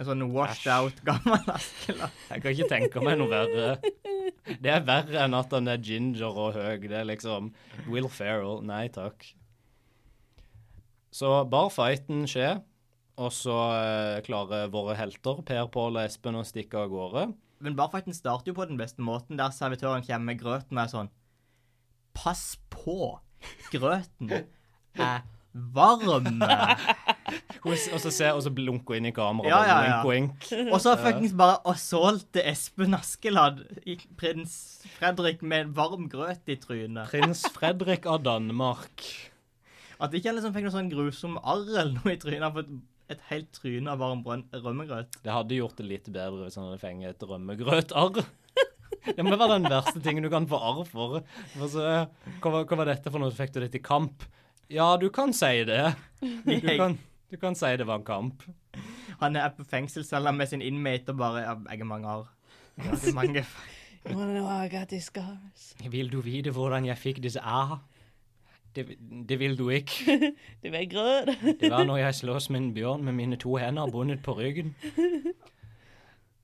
[SPEAKER 2] En sånn washed
[SPEAKER 3] Æsj.
[SPEAKER 2] out gammel Askeladden.
[SPEAKER 3] Jeg kan ikke tenke meg noe verre. Det er verre enn at han er ginger og høy. Det er liksom Will Ferrell. Nei takk. Så barfighten skjer, og så eh, klarer våre helter, Per, Pål og Espen, å stikke av gårde.
[SPEAKER 2] Men barfighten starter jo på den beste måten, der servitøren kommer med grøten og er sånn Pass på! Grøten er varm!
[SPEAKER 3] Hun s- Og så, ser, og så blunker hun inn i kameraet.
[SPEAKER 2] Ja, ja, ja.
[SPEAKER 3] Wink, wink.
[SPEAKER 2] Og så fuckings bare assaulter Espen Askeladd i prins Fredrik med varm grøt i trynet.
[SPEAKER 3] Prins Fredrik av Danmark.
[SPEAKER 2] At ikke han liksom fikk noe sånn grusom arr eller noe i trynet. For et helt tryne av varm brønn rømmegrøt.
[SPEAKER 3] Det hadde gjort det litt bedre hvis han hadde fengt et rømmegrøtarr. Det må være den verste tingen du kan få arr for. for så, eh, hva, var- hva var dette for noe? Fikk du dette i kamp? Ja, du kan si det. Du
[SPEAKER 2] Jeg-
[SPEAKER 3] kan, du kan si det var en kamp.
[SPEAKER 2] Han er på fengselscella med sin inmate og bare ja, Jeg er mange arr. Jeg har mange f-
[SPEAKER 4] You wanna know how I got these scars?
[SPEAKER 3] Vil du vite hvordan jeg fikk disse æ? Det, det vil du ikke.
[SPEAKER 4] Det var grøt.
[SPEAKER 3] Det var når jeg slåss med en bjørn med mine to hender bundet på ryggen.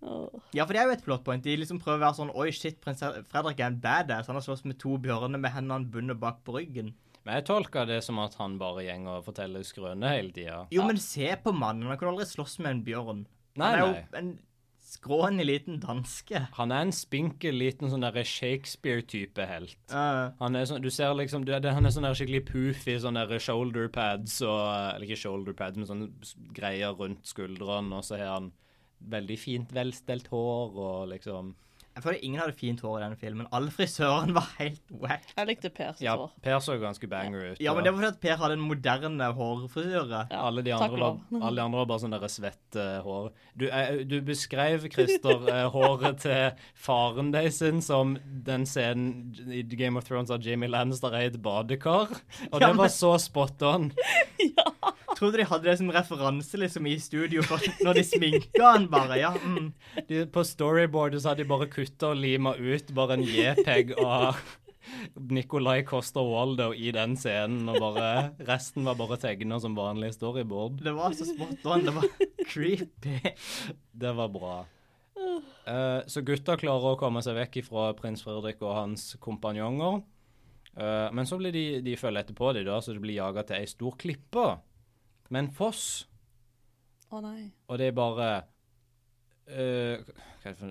[SPEAKER 4] Åh.
[SPEAKER 2] Ja, for det er jo et plot point. De liksom prøver å være sånn Oi, shit, prins Fredrik er en badass. Han har slåss med to bjørner med hendene bundet bak på ryggen.
[SPEAKER 3] Men jeg tolker det som at han bare går og forteller skrøner hele tida.
[SPEAKER 2] Jo, men se på mannen. Han kan aldri slåss med en bjørn.
[SPEAKER 3] Nei,
[SPEAKER 2] han er
[SPEAKER 3] nei.
[SPEAKER 2] jo en skrånig liten danske.
[SPEAKER 3] Han er en spinkel liten sånn derre Shakespeare-type helt.
[SPEAKER 2] Eh,
[SPEAKER 3] Han er sånn, du ser liksom, du, det- han er sånn der skikkelig poofy, sånne der shoulder pads og Eller ikke shoulder pads, men sånne s- greier rundt skuldrene, og så har han veldig fint velstelt hår og liksom
[SPEAKER 2] jeg føler ingen hadde fint hår i denne filmen. Alle frisørene var helt wack.
[SPEAKER 4] Jeg likte Pers
[SPEAKER 3] Ja,
[SPEAKER 4] hår.
[SPEAKER 3] Per så ganske banger ut.
[SPEAKER 2] Ja, men
[SPEAKER 3] og
[SPEAKER 2] det var fordi at Per hadde en moderne hårfrisyre.
[SPEAKER 4] Ja,
[SPEAKER 3] alle de, andre
[SPEAKER 4] takk
[SPEAKER 3] var,
[SPEAKER 4] og lov. Mhm.
[SPEAKER 3] alle de andre var bare sånn der svette hår. Du, eh, du beskrev, Christer, eh, håret til faren din sin som den scenen i Game of Thrones av Jamie Lannister er i et badekar. Og
[SPEAKER 2] Ja,
[SPEAKER 3] det var
[SPEAKER 2] men-
[SPEAKER 3] så spot on.
[SPEAKER 2] Trodde de hadde det som referanse liksom i studio for når de sminka han bare. Ja, mm.
[SPEAKER 3] De, på storyboardet så hadde de bare kutta og lima ut bare en JPEG av Nicolai Coster-Waldo i den scenen, og bare resten var bare tegna som vanlig storyboard.
[SPEAKER 2] Det var så spot on. Det var creepy.
[SPEAKER 3] Det var bra. Eh, så gutta klarer å komme seg vekk fra prins Fredrik og hans kompanjonger. Eh, men så blir de, de følger etterpå, de da, så de blir jaga til ei stor klippe med en foss.
[SPEAKER 4] Å nei.
[SPEAKER 3] Og det er bare øh, hva, er det for,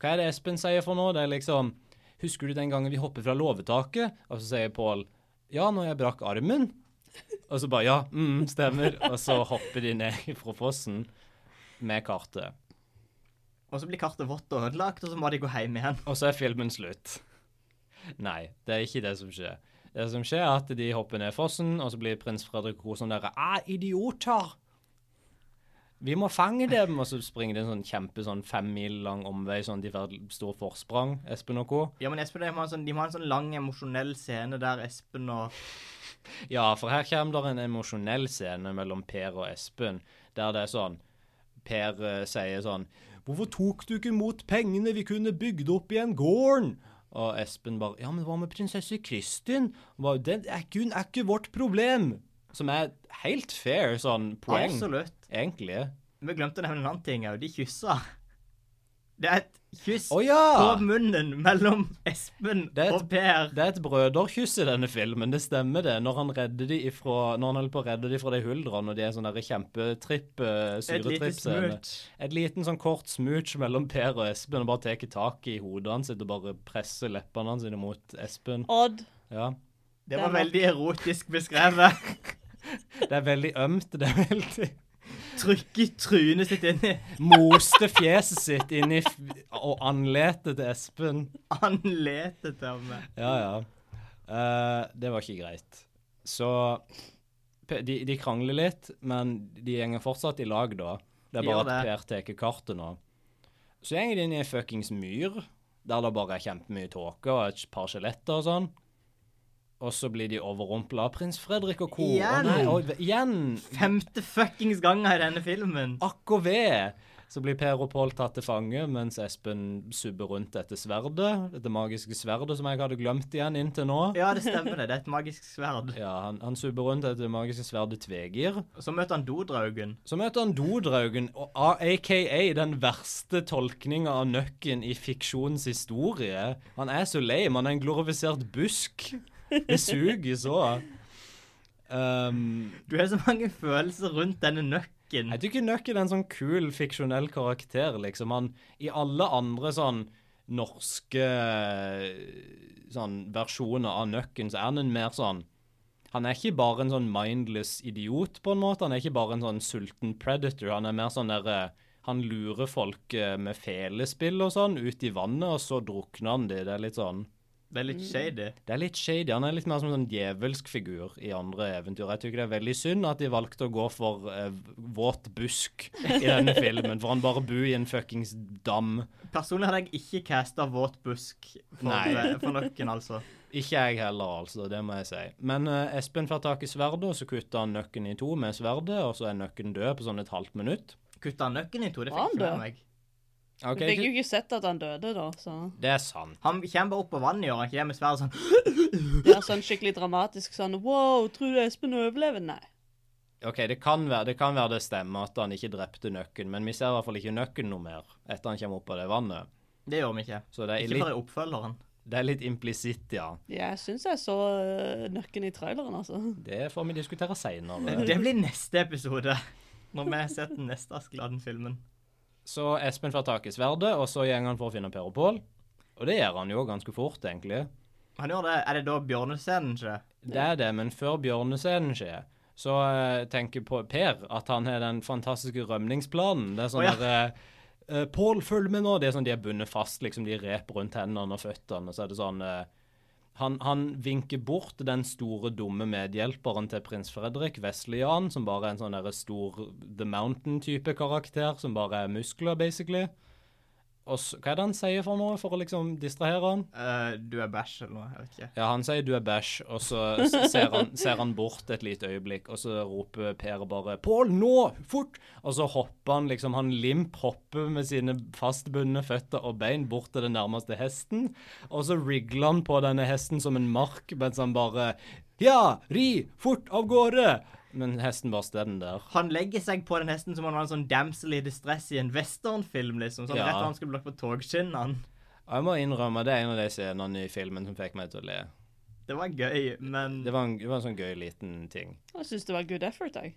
[SPEAKER 3] hva er det Espen sier for noe? Det er liksom Husker du den gangen vi hoppet fra låvetaket? Og så sier Pål Ja, når jeg brakk armen. Og så bare Ja, mm, stemmer. Og så hopper de ned fra fossen med kartet.
[SPEAKER 2] Og så blir kartet vått og ødelagt, og så må de gå hjem igjen.
[SPEAKER 3] Og så er filmen slutt. Nei, det er ikke det som skjer. Det som skjer, er at de hopper ned fossen, og så blir prins Fredrik Ro sånn derre Ah, idioter! Vi må fange dem! Og så springer de en sånn kjempe sånn fem mil lang omvei, sånn de får et stort forsprang, Espen og co.
[SPEAKER 2] Ja, men Espen, de må ha en sånn, de må ha en sånn lang, emosjonell scene der Espen og
[SPEAKER 3] Ja, for her kommer det en emosjonell scene mellom Per og Espen, der det er sånn Per eh, sier sånn 'Hvorfor tok du ikke imot pengene vi kunne bygd opp igjen gården?' Og Espen bare 'Ja, men hva med prinsesse Kristin?' Han bare, 'Det er ikke, hun er ikke vårt problem.' Som er helt fair sånn poeng,
[SPEAKER 2] Absolutt.
[SPEAKER 3] egentlig.
[SPEAKER 2] Vi glemte å nevne en annen ting òg. De kyssa. Det er et kyss
[SPEAKER 3] Å ja!
[SPEAKER 2] på munnen mellom Espen
[SPEAKER 3] Det er et-
[SPEAKER 2] og Per.
[SPEAKER 3] Det er et brøderkyss i denne filmen, det stemmer det. Når han redder de ifra, når han holder på å redde de fra de huldrene, og de er sånn der kjempetripp, eh,
[SPEAKER 2] Et lite
[SPEAKER 3] syretrippscene.
[SPEAKER 2] smurt.
[SPEAKER 3] Et liten sånn kort smooch mellom Per og Espen, og bare tar tak i hodet hans sitt og bare presser leppene hans inn mot Espen.
[SPEAKER 4] Odd.
[SPEAKER 3] Ja.
[SPEAKER 2] Det
[SPEAKER 4] Det er
[SPEAKER 2] var
[SPEAKER 4] nok.
[SPEAKER 2] veldig erotisk beskrevet.
[SPEAKER 3] Det er veldig ømt. Det er veldig
[SPEAKER 2] Trykke trynet sitt inn i
[SPEAKER 3] Moste fjeset sitt inn i f og anletet til Espen.
[SPEAKER 2] anletet til meg.
[SPEAKER 3] Ja, ja. Eh, det var ikke greit. Så Pe- de, de krangler litt, men de gjenger fortsatt i lag, da. Det er bare
[SPEAKER 2] Gjør det.
[SPEAKER 3] at Per tar kartet nå. Så gjenger de inn i ei fuckings myr, der det bare er kjempemye tåke og et par skjeletter og sånn. Og så blir de overrumpla av prins Fredrik og co. Å
[SPEAKER 2] Igjen!
[SPEAKER 3] nei, å, igjen!
[SPEAKER 2] Femte fuckings ganga i denne filmen.
[SPEAKER 3] Akk og ved! Så blir Per og Pål tatt til fange, mens Espen subber rundt dette sverdet. Dette magiske sverdet som jeg hadde glemt igjen inntil nå.
[SPEAKER 2] Ja, det stemmer det. Det er et magisk sverd.
[SPEAKER 3] Ja, han, han subber rundt etter det magiske sverdet Tvegir.
[SPEAKER 2] Så møter han dodraugen.
[SPEAKER 3] Så møter han Dodraugen, og A- aka den verste tolkninga av nøkken i fiksjonens historie. Han er så lame. Han er en glorifisert busk. Det suger så. Um,
[SPEAKER 2] Du har så mange følelser rundt denne nøkken.
[SPEAKER 3] jeg tykker Nøkken er en sånn kul, fiksjonell karakter, liksom. Han i alle andre sånn norske sånn versjoner av Nøkken, så er han en mer sånn Han er ikke bare en sånn mindless idiot, på en måte. Han er ikke bare en sånn sulten predator. Han er mer sånn derre Han eh, lurer folk eh, med felespill og sånn ut i vannet, og så drukner han de. Det er litt sånn
[SPEAKER 2] Det er litt shady.
[SPEAKER 3] Det er litt shady. Han er litt mer som en sånn djevelsk figur i andre eventyr. Jeg tykker det er veldig synd at de valgte å gå for eh, våt busk i denne filmen, for han bare bor i en fuckings dam.
[SPEAKER 2] Personlig hadde jeg ikke casta våt busk for,
[SPEAKER 3] Nei.
[SPEAKER 2] for noen, altså.
[SPEAKER 3] Ikke jeg heller, altså. Det må jeg si. Men eh, Espen får tak i sverdet, og så kutter han nøkken i to med sverdet, og så er nøkken død på sånn et halvt minutt.
[SPEAKER 2] Kutta han nøkken i to, det
[SPEAKER 4] Var
[SPEAKER 2] fikk
[SPEAKER 4] han
[SPEAKER 2] ikke
[SPEAKER 4] død?
[SPEAKER 2] med meg.
[SPEAKER 3] Ok,
[SPEAKER 4] Jeg fikk jo ikke sett at han døde, da. Så.
[SPEAKER 3] Det er sant.
[SPEAKER 2] Han kommer bare opp på vannet i år, han kommer med sverdet sånn
[SPEAKER 4] Det er sånn skikkelig dramatisk sånn Wow, tror du Espen overlever? Nei.
[SPEAKER 3] Ok, det kan, være, det kan være det stemmer at han ikke drepte nøkken, men vi ser i hvert fall ikke nøkken noe mer etter han kommer opp av det vannet.
[SPEAKER 2] Det gjør vi ikke.
[SPEAKER 3] Så det er
[SPEAKER 2] Ikke
[SPEAKER 3] litt,
[SPEAKER 2] bare oppfølgeren.
[SPEAKER 3] det er litt implisitt, ja.
[SPEAKER 4] Jeg syns jeg så øh, nøkken i traileren, altså.
[SPEAKER 3] Det får vi diskutere seinere.
[SPEAKER 2] Det blir neste episode. Når vi har sett den neste Askeladden-filmen.
[SPEAKER 3] Så Espen får tak i sverdet, og så går han for å finne Per og Pål. Og det gjør han jo ganske fort, egentlig.
[SPEAKER 2] Han gjør det. Er det da bjørnescenen skjer?
[SPEAKER 3] Det er det, men før bjørnescenen skjer, så eh, tenker på Per at han har den fantastiske rømningsplanen. Det er sånn
[SPEAKER 2] Å, ja.
[SPEAKER 3] der eh, eh, Pål, følg med nå! Det er sånn de er bundet fast, liksom. De rep rundt hendene og føttene, og så er det sånn eh, han, han vinker bort den store, dumme medhjelperen til prins Fredrik, Vesleyan, som bare er en sånn der stor The Mountain-type karakter, som bare er muskler, basically. Og så, hva er det han sier for noe, for å liksom distrahere han?
[SPEAKER 2] Eh, du er bæsj eller noe? Jeg vet ikke.
[SPEAKER 3] Ja, han sier du er bæsj, og så s- ser han, ser han bort et lite øyeblikk, og så roper Per bare 'Pål, nå! Fort!' Og så hopper han liksom, han limp hopper med sine fastbundne føtter og bein bort til den nærmeste hesten, og så rigler han på denne hesten som en mark, mens han bare 'Ja, ri! Fort av gårde!' Men hesten bare står den der.
[SPEAKER 2] Han legger seg på den hesten som om han var en sånn damsel i distress i en westernfilm, liksom. Sånn
[SPEAKER 3] Ja.
[SPEAKER 2] rett før han skulle blokke på togskinnene.
[SPEAKER 3] Og jeg må innrømme, det er en av de scenene i filmen som fikk meg til å le.
[SPEAKER 2] Det var gøy, men
[SPEAKER 3] Det var en, det var en sånn gøy liten ting.
[SPEAKER 4] Jeg syns det var good effort, jeg.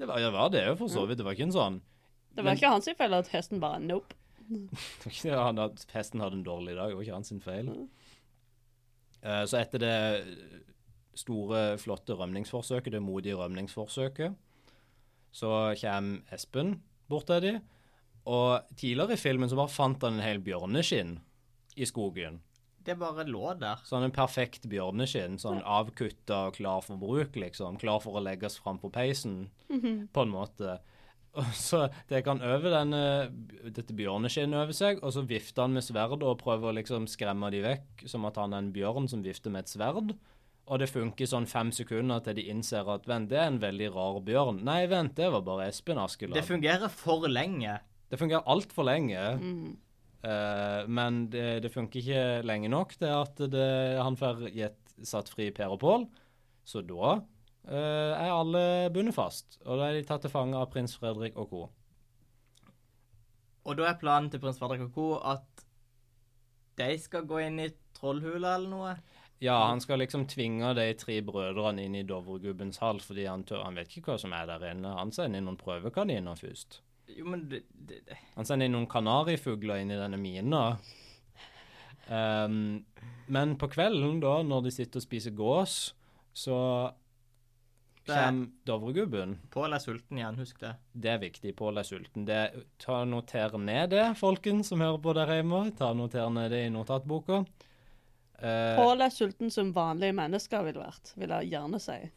[SPEAKER 3] Det var det, var det jo for så vidt, det var ikke en sånn
[SPEAKER 4] Det var ikke hans feil at hesten bare nope.
[SPEAKER 3] Det var ikke det han at Hesten hadde en dårlig dag, det var ikke hans sin feil. Eh, så etter det store, flotte rømningsforsøket, det modige rømningsforsøket, så kommer Espen bort til dem. Og tidligere i filmen så bare fant han en hel bjørneskinn i skogen.
[SPEAKER 2] det bare lå der.
[SPEAKER 3] Sånn en perfekt bjørneskinn, sånn avkutta og klar for bruk, liksom. Klar for å legges fram på peisen, på en måte. Og så tar han over denne, eh, dette bjørneskinnet over seg, og så vifter han med sverdet og prøver å liksom skremme de vekk, som at han er en bjørn som vifter med et sverd. Og det funker sånn fem sekunder til de innser at vent, det er en veldig rar bjørn. Nei, vent, det var bare Espen Askeland.
[SPEAKER 2] Det fungerer for lenge.
[SPEAKER 3] Det fungerer altfor lenge. Eh, men det, det funker ikke lenge nok til at det, han får gitt, satt fri Per og Pål. Så da eh, er alle bundet fast. Og da er de tatt til fange av prins Fredrik og co.
[SPEAKER 2] Og da er planen til prins Fredrik og co. at de skal gå inn i trollhula eller noe.
[SPEAKER 3] Ja, han skal liksom tvinge de tre brødrene inn i Dovregubbens hall, fordi han tør Han vet ikke hva som er der inne. Han sender inn noen prøvekaniner først.
[SPEAKER 2] Jo, men det, det, det.
[SPEAKER 3] Han sender inn noen kanarifugler inn i denne mina. Ehm, men på kvelden, da, når de sitter og spiser gås, så
[SPEAKER 2] Det-
[SPEAKER 3] kommer Dovregubben.
[SPEAKER 2] Pål er sulten igjen, husk det.
[SPEAKER 3] Det er viktig. Pål er sulten. Det, ta og Noter ned det, folkens som hører på der hjemme. Ta og Noter ned det i notatboka. Eh,
[SPEAKER 4] Pål er sulten som vanlige mennesker ville vært, vil jeg gjerne si.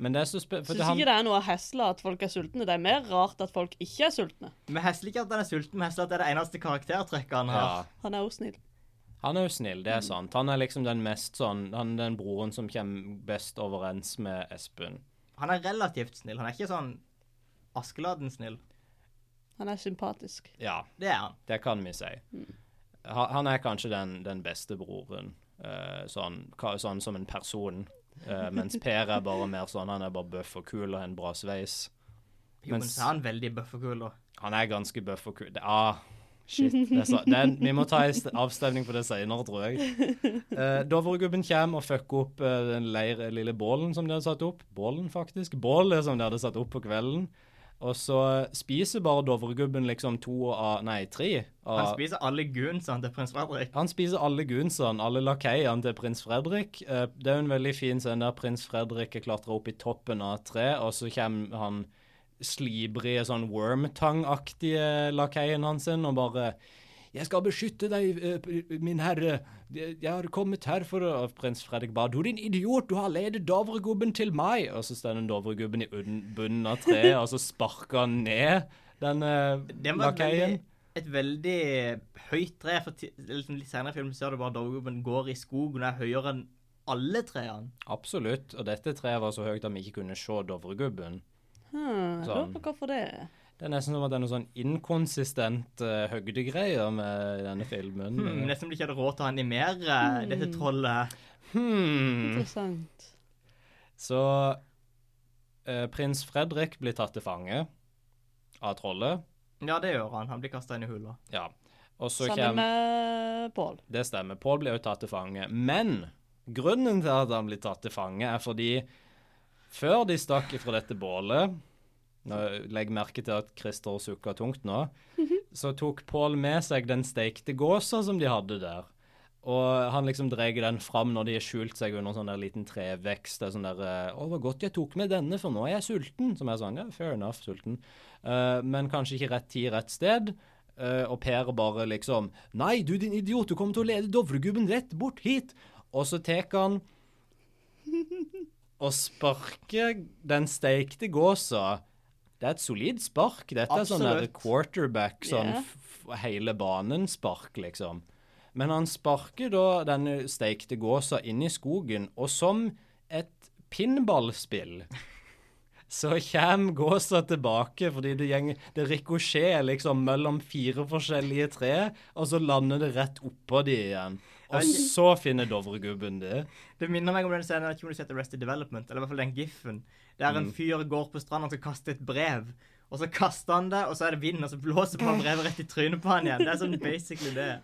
[SPEAKER 3] men det er så spe... for
[SPEAKER 4] Syns
[SPEAKER 3] det- han-
[SPEAKER 4] ikke det er noe hesla at folk er sultne. Det er mer rart at folk ikke er sultne.
[SPEAKER 2] Vi hesler ikke at han er sulten, vi hesler at det er det eneste karaktertrekket han har.
[SPEAKER 3] Ja.
[SPEAKER 4] Han er jo snill.
[SPEAKER 3] Han er jo snill, det er sant. Han er liksom den mest sånn Han er den broren som kommer best overens med Espen.
[SPEAKER 2] Han er relativt snill. Han er ikke sånn Askeladden-snill.
[SPEAKER 4] Han er sympatisk.
[SPEAKER 3] Ja.
[SPEAKER 2] Det er han.
[SPEAKER 3] Det kan vi si. Ha- Han er kanskje den, den beste broren, eh, sånn, ka- sånn som en person. Eh, mens Per er bare mer sånn, han er bare bøff og kul og har en bra sveis.
[SPEAKER 2] Jo, men
[SPEAKER 3] Mens-
[SPEAKER 2] så er han veldig bøffekul. og-
[SPEAKER 3] Han er ganske bøff og kul. Det- Ah, shit. Det er så, det er, vi må ta en st- avstemning på det senere, tror jeg. Eh, Dovregubben kommer og fucker opp eh, den leir, lille bålen som de hadde satt opp. Bålen, faktisk. Bålet som de hadde satt opp på kvelden. Og så spiser bare Dovregubben liksom to av Nei, tre av
[SPEAKER 2] Han spiser alle goonsene til prins Fredrik.
[SPEAKER 3] Han spiser alle gunsene, alle lakeiene til prins Fredrik. Eh, Det er jo en veldig fin scene der prins Fredrik er klatra opp i toppen av et tre, og så kommer han slibrige, sånn wormtang-aktige lakeien hans inn og bare 'Jeg skal beskytte deg, eh, p- min herre. Jeg jeg har kommet her for å Og Prins Fredrik bare 'Du din idiot, du har ledet Dovregubben til meg.' Og så står den Dovregubben i un- bunnen av treet, og så sparker han ned den eh,
[SPEAKER 2] Det var et veldig,
[SPEAKER 3] lakeien.
[SPEAKER 2] et veldig høyt tre. For ti- liksom litt senere i filmen ser du bare Dovregubben går i skogen og er høyere enn alle trærne.
[SPEAKER 3] Absolutt. Og dette treet var så høyt at vi ikke kunne se Dovregubben.
[SPEAKER 4] Hmm, jeg lurer
[SPEAKER 3] Sånn.
[SPEAKER 4] på hvorfor det er.
[SPEAKER 3] Det er nesten som at det er noe sånn inkonsistent eh, høydegreier med denne filmen. Eh,
[SPEAKER 2] Hmm, nesten ikke hadde råd til å animere eh, dette trollet.
[SPEAKER 3] Hmm.
[SPEAKER 4] Interessant.
[SPEAKER 3] Så eh, prins Fredrik blir tatt til fange av trollet.
[SPEAKER 2] Ja, det gjør han. Han blir kasta inn i hula.
[SPEAKER 3] Ja. Og så
[SPEAKER 4] Sammen
[SPEAKER 3] kommer
[SPEAKER 4] med Pål.
[SPEAKER 3] Det stemmer. Pål blir også tatt til fange. Men grunnen til at han blir tatt til fange, er fordi før de stakk fra dette bålet nå Legg merke til at Christer sukker tungt nå. Så tok Pål med seg den steikte gåsa som de hadde der. Og han liksom dreier den fram når de har skjult seg under sånn der liten trevekst. Det er sånn der eh, 'Å, det var godt jeg tok med denne, for nå er jeg sulten.' Som er sånn, ja, fair enough, sulten. Eh, men kanskje ikke rett tid, rett sted. Eh, og Per bare liksom 'Nei, du din idiot, du kommer til å lede Dovregubben rett bort hit.' Og så tar han og sparker den steikte gåsa. Det er et solid spark. Dette er sånn der
[SPEAKER 2] Absolutt.
[SPEAKER 3] quarterback, sånn
[SPEAKER 4] Ja.
[SPEAKER 3] f f- hele banen-spark, liksom. Men han sparker da denne steikte gåsa inn i skogen, og som et pinballspill så kommer gåsa tilbake, fordi det, gjeng- det rikosjerer liksom mellom fire forskjellige tre, og så lander det rett oppå de igjen. Og så finner Dovregubben det.
[SPEAKER 2] Det minner meg om den scenen jeg vet ikke om du har sett Arrested Development, eller i hvert fall den giffen, der en fyr går på stranda og skal kaste et brev. Og så kaster han det, og så er det vind, og så blåser bare brevet rett i trynet på han igjen. Det er sånn basically det.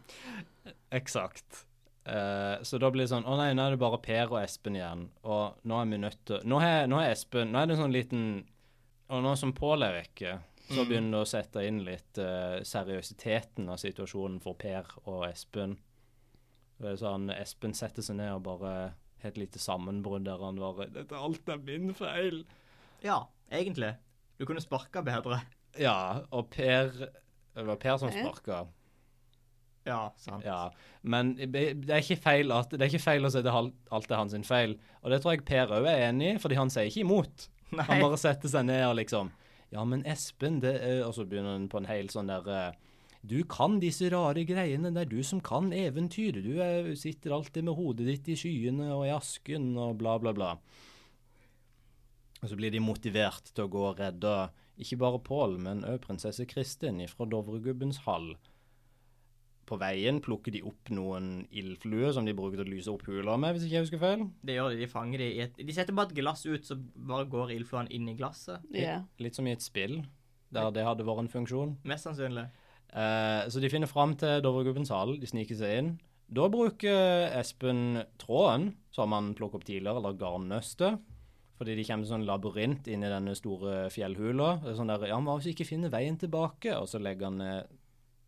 [SPEAKER 3] Eksakt. Eh, så da blir det sånn Å nei, nå er det bare Per og Espen igjen. Og nå er vi nødt til Nå er, nå er Espen Nå er det en sånn liten Og nå som Pål er vekke, så begynner det å sette inn litt eh, seriøsiteten av situasjonen for Per og Espen. Det er sånn Espen setter seg ned og bare har et lite sammenbrudd der han bare 'Dette alt er min feil'.
[SPEAKER 2] Ja, egentlig. Du kunne sparka bedre.
[SPEAKER 3] Ja, og Per Det var Per som
[SPEAKER 4] Eh?
[SPEAKER 3] sparka.
[SPEAKER 2] Ja, sant.
[SPEAKER 3] Ja, men det det er ikke feil, at, det er ikke feil å si det hal- alt er hans sin feil. Og det tror jeg Per òg er enig i, fordi han sier ikke imot.
[SPEAKER 2] Nei.
[SPEAKER 3] Han bare setter seg ned og liksom Ja, men Espen, det er Og så begynner han på en hel sånn der eh, Du kan disse rare greiene, det er du som kan eventyr. Du er, sitter alltid med hodet ditt i skyene og i asken og bla, bla, bla. Og så blir de motivert til å gå og redde ikke bare Pål, men òg prinsesse Kristin fra Dovregubbens hall. På veien plukker de opp noen ildfluer som de bruker til å lyse opp hula med, hvis ikke jeg husker feil.
[SPEAKER 2] Det gjør de. De fanger de i et De setter bare et glass ut, så bare går ildfluen inn i glasset.
[SPEAKER 4] Ja.
[SPEAKER 3] Litt som i et spill, der det hadde vært en funksjon.
[SPEAKER 2] Mest sannsynlig.
[SPEAKER 3] Eh, så de finner fram til Dovregubbens hall, de sniker seg inn. Da bruker Espen tråden, som han plukker opp tidligere, eller garnnøstet. Fordi de kommer til sånn labyrint inn i denne store fjellhula. Det er sånn der, ja, men hva hvis vi ikke finner veien tilbake? Og så legger han ned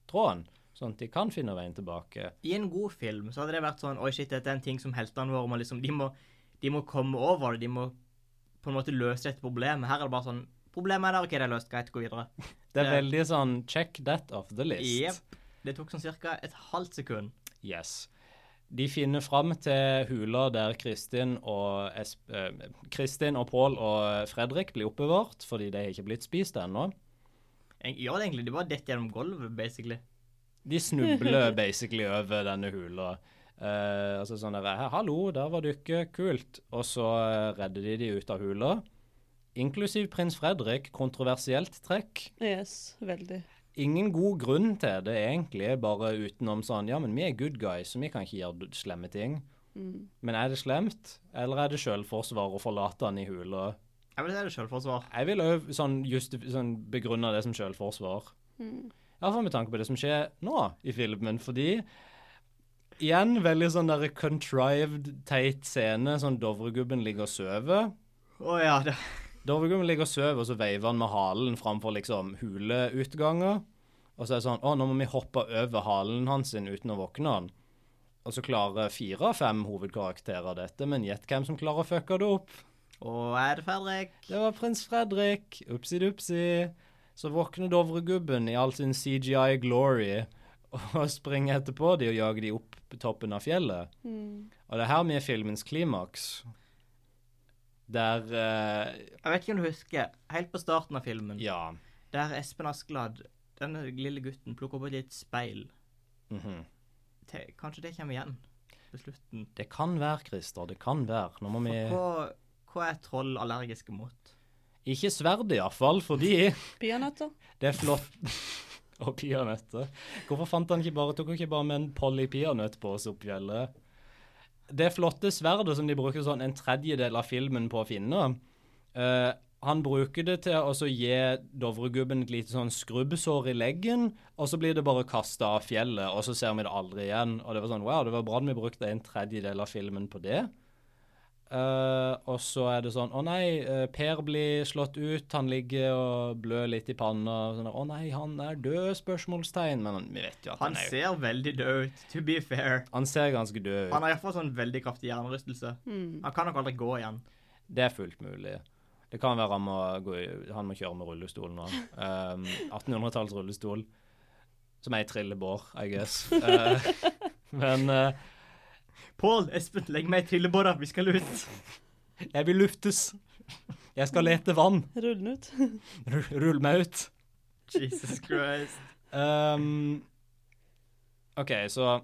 [SPEAKER 3] tråden, sånn at de kan finne veien tilbake.
[SPEAKER 2] I en god film så hadde det vært sånn Oi, shit, dette er en ting som heltene våre må liksom De må, de må komme over det. De må på en måte løse dette problemet. Her er det bare sånn Problemet er der, OK, det er løst. Greit, gå videre.
[SPEAKER 3] Det er
[SPEAKER 2] Ja.
[SPEAKER 3] veldig sånn check that off the list.
[SPEAKER 2] Jepp. Det tok sånn cirka et halvt sekund.
[SPEAKER 3] Yes. De finner fram til hula der Kristin og, es eh, Kristin og Pål og Fredrik blir oppbevart, fordi de har ikke blitt spist ennå.
[SPEAKER 2] Jeg gjør det egentlig. De bare detter gjennom gulvet, basically.
[SPEAKER 3] De snubler basically over denne hula. Eh, altså sånn der, «Hæ, Hallo, der var dere. Kult. Og så eh, redder de de ut av hula. Inklusiv prins Fredrik. Kontroversielt trekk.
[SPEAKER 4] Yes, veldig.
[SPEAKER 3] Ingen god grunn til det, egentlig, bare utenom sånn Ja, men vi er good guys, så vi kan ikke gjøre d- slemme ting. Men er det slemt, eller er det sjølforsvar å forlate han i hula?
[SPEAKER 2] Jeg vil si det er selvforsvar.
[SPEAKER 3] Jeg vil òg sånn, justi- sånn begrunne det som sjølforsvar. Iallfall med tanke på det som skjer nå i filmen, fordi Igjen veldig sånn der contrived, teit scene. Sånn Dovregubben ligger og sover.
[SPEAKER 2] Å ja, det
[SPEAKER 3] Dovregubben ligger og sover, og så veiver han med halen framfor liksom huleutganger. Og så er det sånn Å, nå må vi hoppe over halen hans sin uten å våkne han. Og så klarer fire av fem hovedkarakterer dette, men gjett hvem som klarer å fucke det opp?
[SPEAKER 2] Å, er det Fredrik?
[SPEAKER 3] Det var prins Fredrik. Upsi-dupsi. Så våkner Dovregubben i all sin CGI glory. og springer etterpå de og jager de opp på toppen av fjellet.
[SPEAKER 4] Mm.
[SPEAKER 3] Og det er her vi er filmens klimaks. Der eh,
[SPEAKER 2] Jeg vet ikke om du husker, helt på starten av filmen,
[SPEAKER 3] Ja.
[SPEAKER 2] der Espen Askeladd, denne lille gutten, plukker opp et litt speil.
[SPEAKER 3] mhm.
[SPEAKER 2] Te- Kanskje det kommer igjen på slutten.
[SPEAKER 3] Det kan være, Christer. Det kan være. Nå må vi
[SPEAKER 2] Hva, hva er troll allergiske mot?
[SPEAKER 3] Ikke sverdet, iallfall, fordi
[SPEAKER 4] Peanøtter.
[SPEAKER 3] det er flott. og peanøtter. Hvorfor fant han ikke bare, tok han ikke bare med en Polly peanøtt på oss opp fjellet? Det flotte sverdet som de bruker sånn en tredjedel av filmen på å finne, eh, han bruker det til å så gi Dovregubben et lite sånn skrubbsår i leggen, og så blir det bare kasta av fjellet, og så ser vi det aldri igjen. Og det var sånn Wow, det var bra at vi brukte en tredjedel av filmen på det. Eh, og så er det sånn Å nei, eh, Per blir slått ut. Han ligger og blør litt i panna. og Sånn, å nei, han er død? spørsmålstegn. Men han- vi vet jo at han,
[SPEAKER 2] Han
[SPEAKER 3] er jo
[SPEAKER 2] ser veldig død ut, to be fair.
[SPEAKER 3] Han ser ganske død ut.
[SPEAKER 2] Han har iallfall sånn veldig kraftig hjernerystelse. Han kan nok aldri gå igjen.
[SPEAKER 3] Det er fullt mulig. Det kan være han må, gå, i- han må kjøre med rullestol nå. Um, 1800-talls rullestol. Som er i trillebår, I guess. Uh, men uh,
[SPEAKER 2] Pål, Espen, legg meg i trillebåra, vi skal ut.
[SPEAKER 3] jeg vil luftes. Jeg skal lete vann.
[SPEAKER 4] Rull den ut.
[SPEAKER 3] Ru- Rull meg ut.
[SPEAKER 2] Jesus Christ.
[SPEAKER 3] Um, OK, så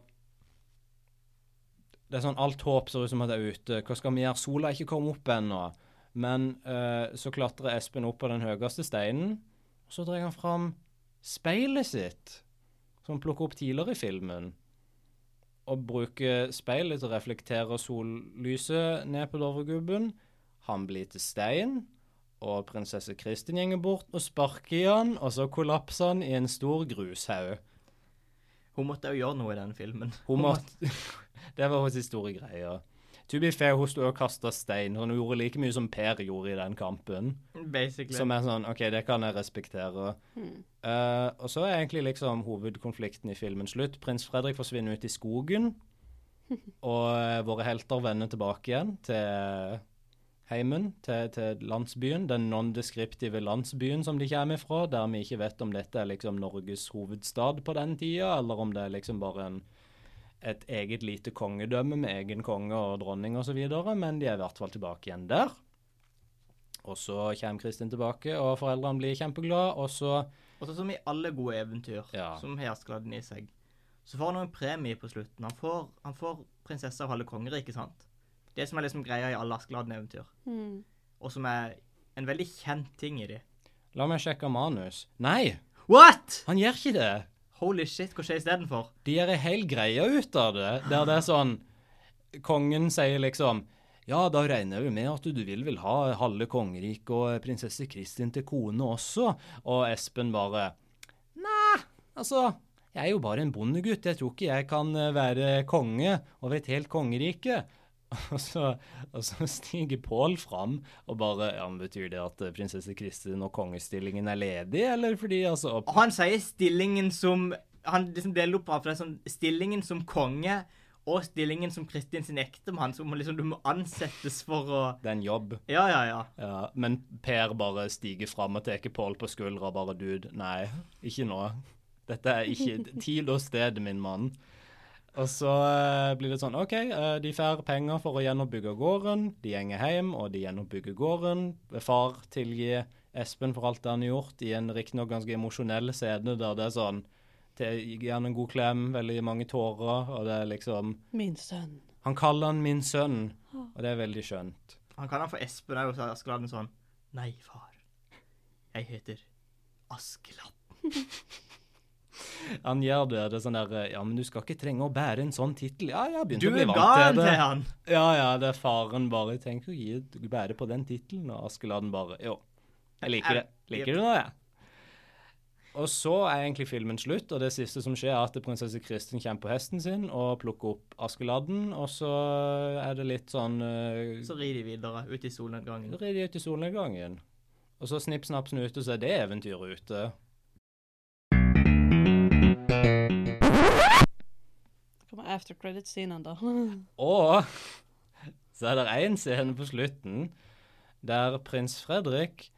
[SPEAKER 3] Det er sånn alt håp ser ut som at det er ute. Hva skal vi gjøre? Sola er ikke kommet opp ennå. Men eh, så klatrer Espen opp på den høyeste steinen, og så drar han fram speilet sitt, som han plukker opp tidligere i filmen, og bruker speilet til å reflektere sollyset ned på Dovregubben. Han blir til stein. Og prinsesse Kristin gjenger bort og sparker i han, og så kollapser han i en stor grushaug.
[SPEAKER 2] Hun måtte jo gjøre noe i den filmen.
[SPEAKER 3] Hun måtte Det var hennes store greie. To be fair, hun sto og kasta stein. Hun gjorde like mye som Per gjorde i den kampen.
[SPEAKER 2] Basically.
[SPEAKER 3] Som er sånn OK, det kan jeg respektere. Eh, og så er egentlig liksom hovedkonflikten i filmen slutt. Prins Fredrik forsvinner ut i skogen. Og eh, våre helter vender tilbake igjen til heimen, til, til landsbyen. Den non-deskriptive landsbyen som de kommer ifra, der vi ikke vet om dette er liksom Norges hovedstad på den tida, eller om det er liksom bare en, et eget lite kongedømme med egen konge og dronning osv., men de er i hvert fall tilbake igjen der. Og så kommer Kristin tilbake, og foreldrene blir kjempeglade, og så
[SPEAKER 2] Og så som i alle gode eventyr
[SPEAKER 3] Ja.
[SPEAKER 2] som har Askeladden i seg, så får han jo en premie på slutten. Han får, han får prinsesse av halve kongeriket, sant? Det som er liksom greia i alle Askeladden-eventyr,
[SPEAKER 4] Mm.
[SPEAKER 2] og som er en veldig kjent ting i de.
[SPEAKER 3] La meg sjekke manus. Nei,
[SPEAKER 2] What?!
[SPEAKER 3] han gjør ikke det!
[SPEAKER 2] Holy shit, hva skjer istedenfor?
[SPEAKER 3] De gjør ei hel greie ut av det, der det er sånn Kongen sier liksom Ja, da regner vi med at du vil vel ha halve kongeriket og prinsesse Kristin til kone også. Og Espen bare Nei, altså Jeg er jo bare en bondegutt. Jeg tror ikke jeg kan eh, være konge over et helt kongerike. Og så, og så stiger Pål fram og bare ja, men Betyr det at eh, prinsesse Kristin og kongestillingen er ledig, eller fordi altså og
[SPEAKER 2] Og han sier stillingen som Han liksom deler opp for det er sånn stillingen som konge og stillingen som Kristin sin ektemann, som liksom du må ansettes for å
[SPEAKER 3] Det er en jobb.
[SPEAKER 2] Ja, ja, ja.
[SPEAKER 3] Ja, men Per bare stiger fram og tar Pål på skuldra og bare Dude, nei, ikke nå. Dette er ikke tid og sted, min mann. Og så eh, blir det sånn OK, eh, de får penger for å gjenoppbygge gården. De gjenger hjem, og de gjenoppbygger gården. Far tilgir Espen for alt det han har gjort, i en riktignok ganske emosjonell scene der det er sånn Gjerne en god klem, veldig mange tårer, og det er liksom
[SPEAKER 4] Min sønn.
[SPEAKER 3] Han kaller han min sønn, og det er veldig skjønt.
[SPEAKER 2] Han kan han for Espen òg, sa Askeladden sånn. Nei, far. Jeg heter Askeladd.
[SPEAKER 3] Han gjør det. Det er sånn der Ja, men du skal ikke trenge å bære en sånn tittel. Ja, jeg har begynt
[SPEAKER 2] Du
[SPEAKER 3] å bli
[SPEAKER 2] er
[SPEAKER 3] vant
[SPEAKER 2] gal
[SPEAKER 3] til
[SPEAKER 2] til
[SPEAKER 3] det.
[SPEAKER 2] han!
[SPEAKER 3] Ja, ja, det er faren bare Tenk å gi, bære på den tittelen. Og Askeladden bare Jo, jeg liker det. Liker du nå, jeg. Og så er egentlig filmen slutt, og det siste som skjer, er at prinsesse Kristin kommer på hesten sin og plukker opp Askeladden, og så er det litt sånn eh,
[SPEAKER 2] Så rir de videre ut i solnedgangen.
[SPEAKER 3] så rir de ut i solnedgangen. Og så snipp, snapp, snute, så er det eventyret ute.
[SPEAKER 4] Kommer after credit-scenen, da.
[SPEAKER 3] Og så er det én scene på slutten der prins Fredrik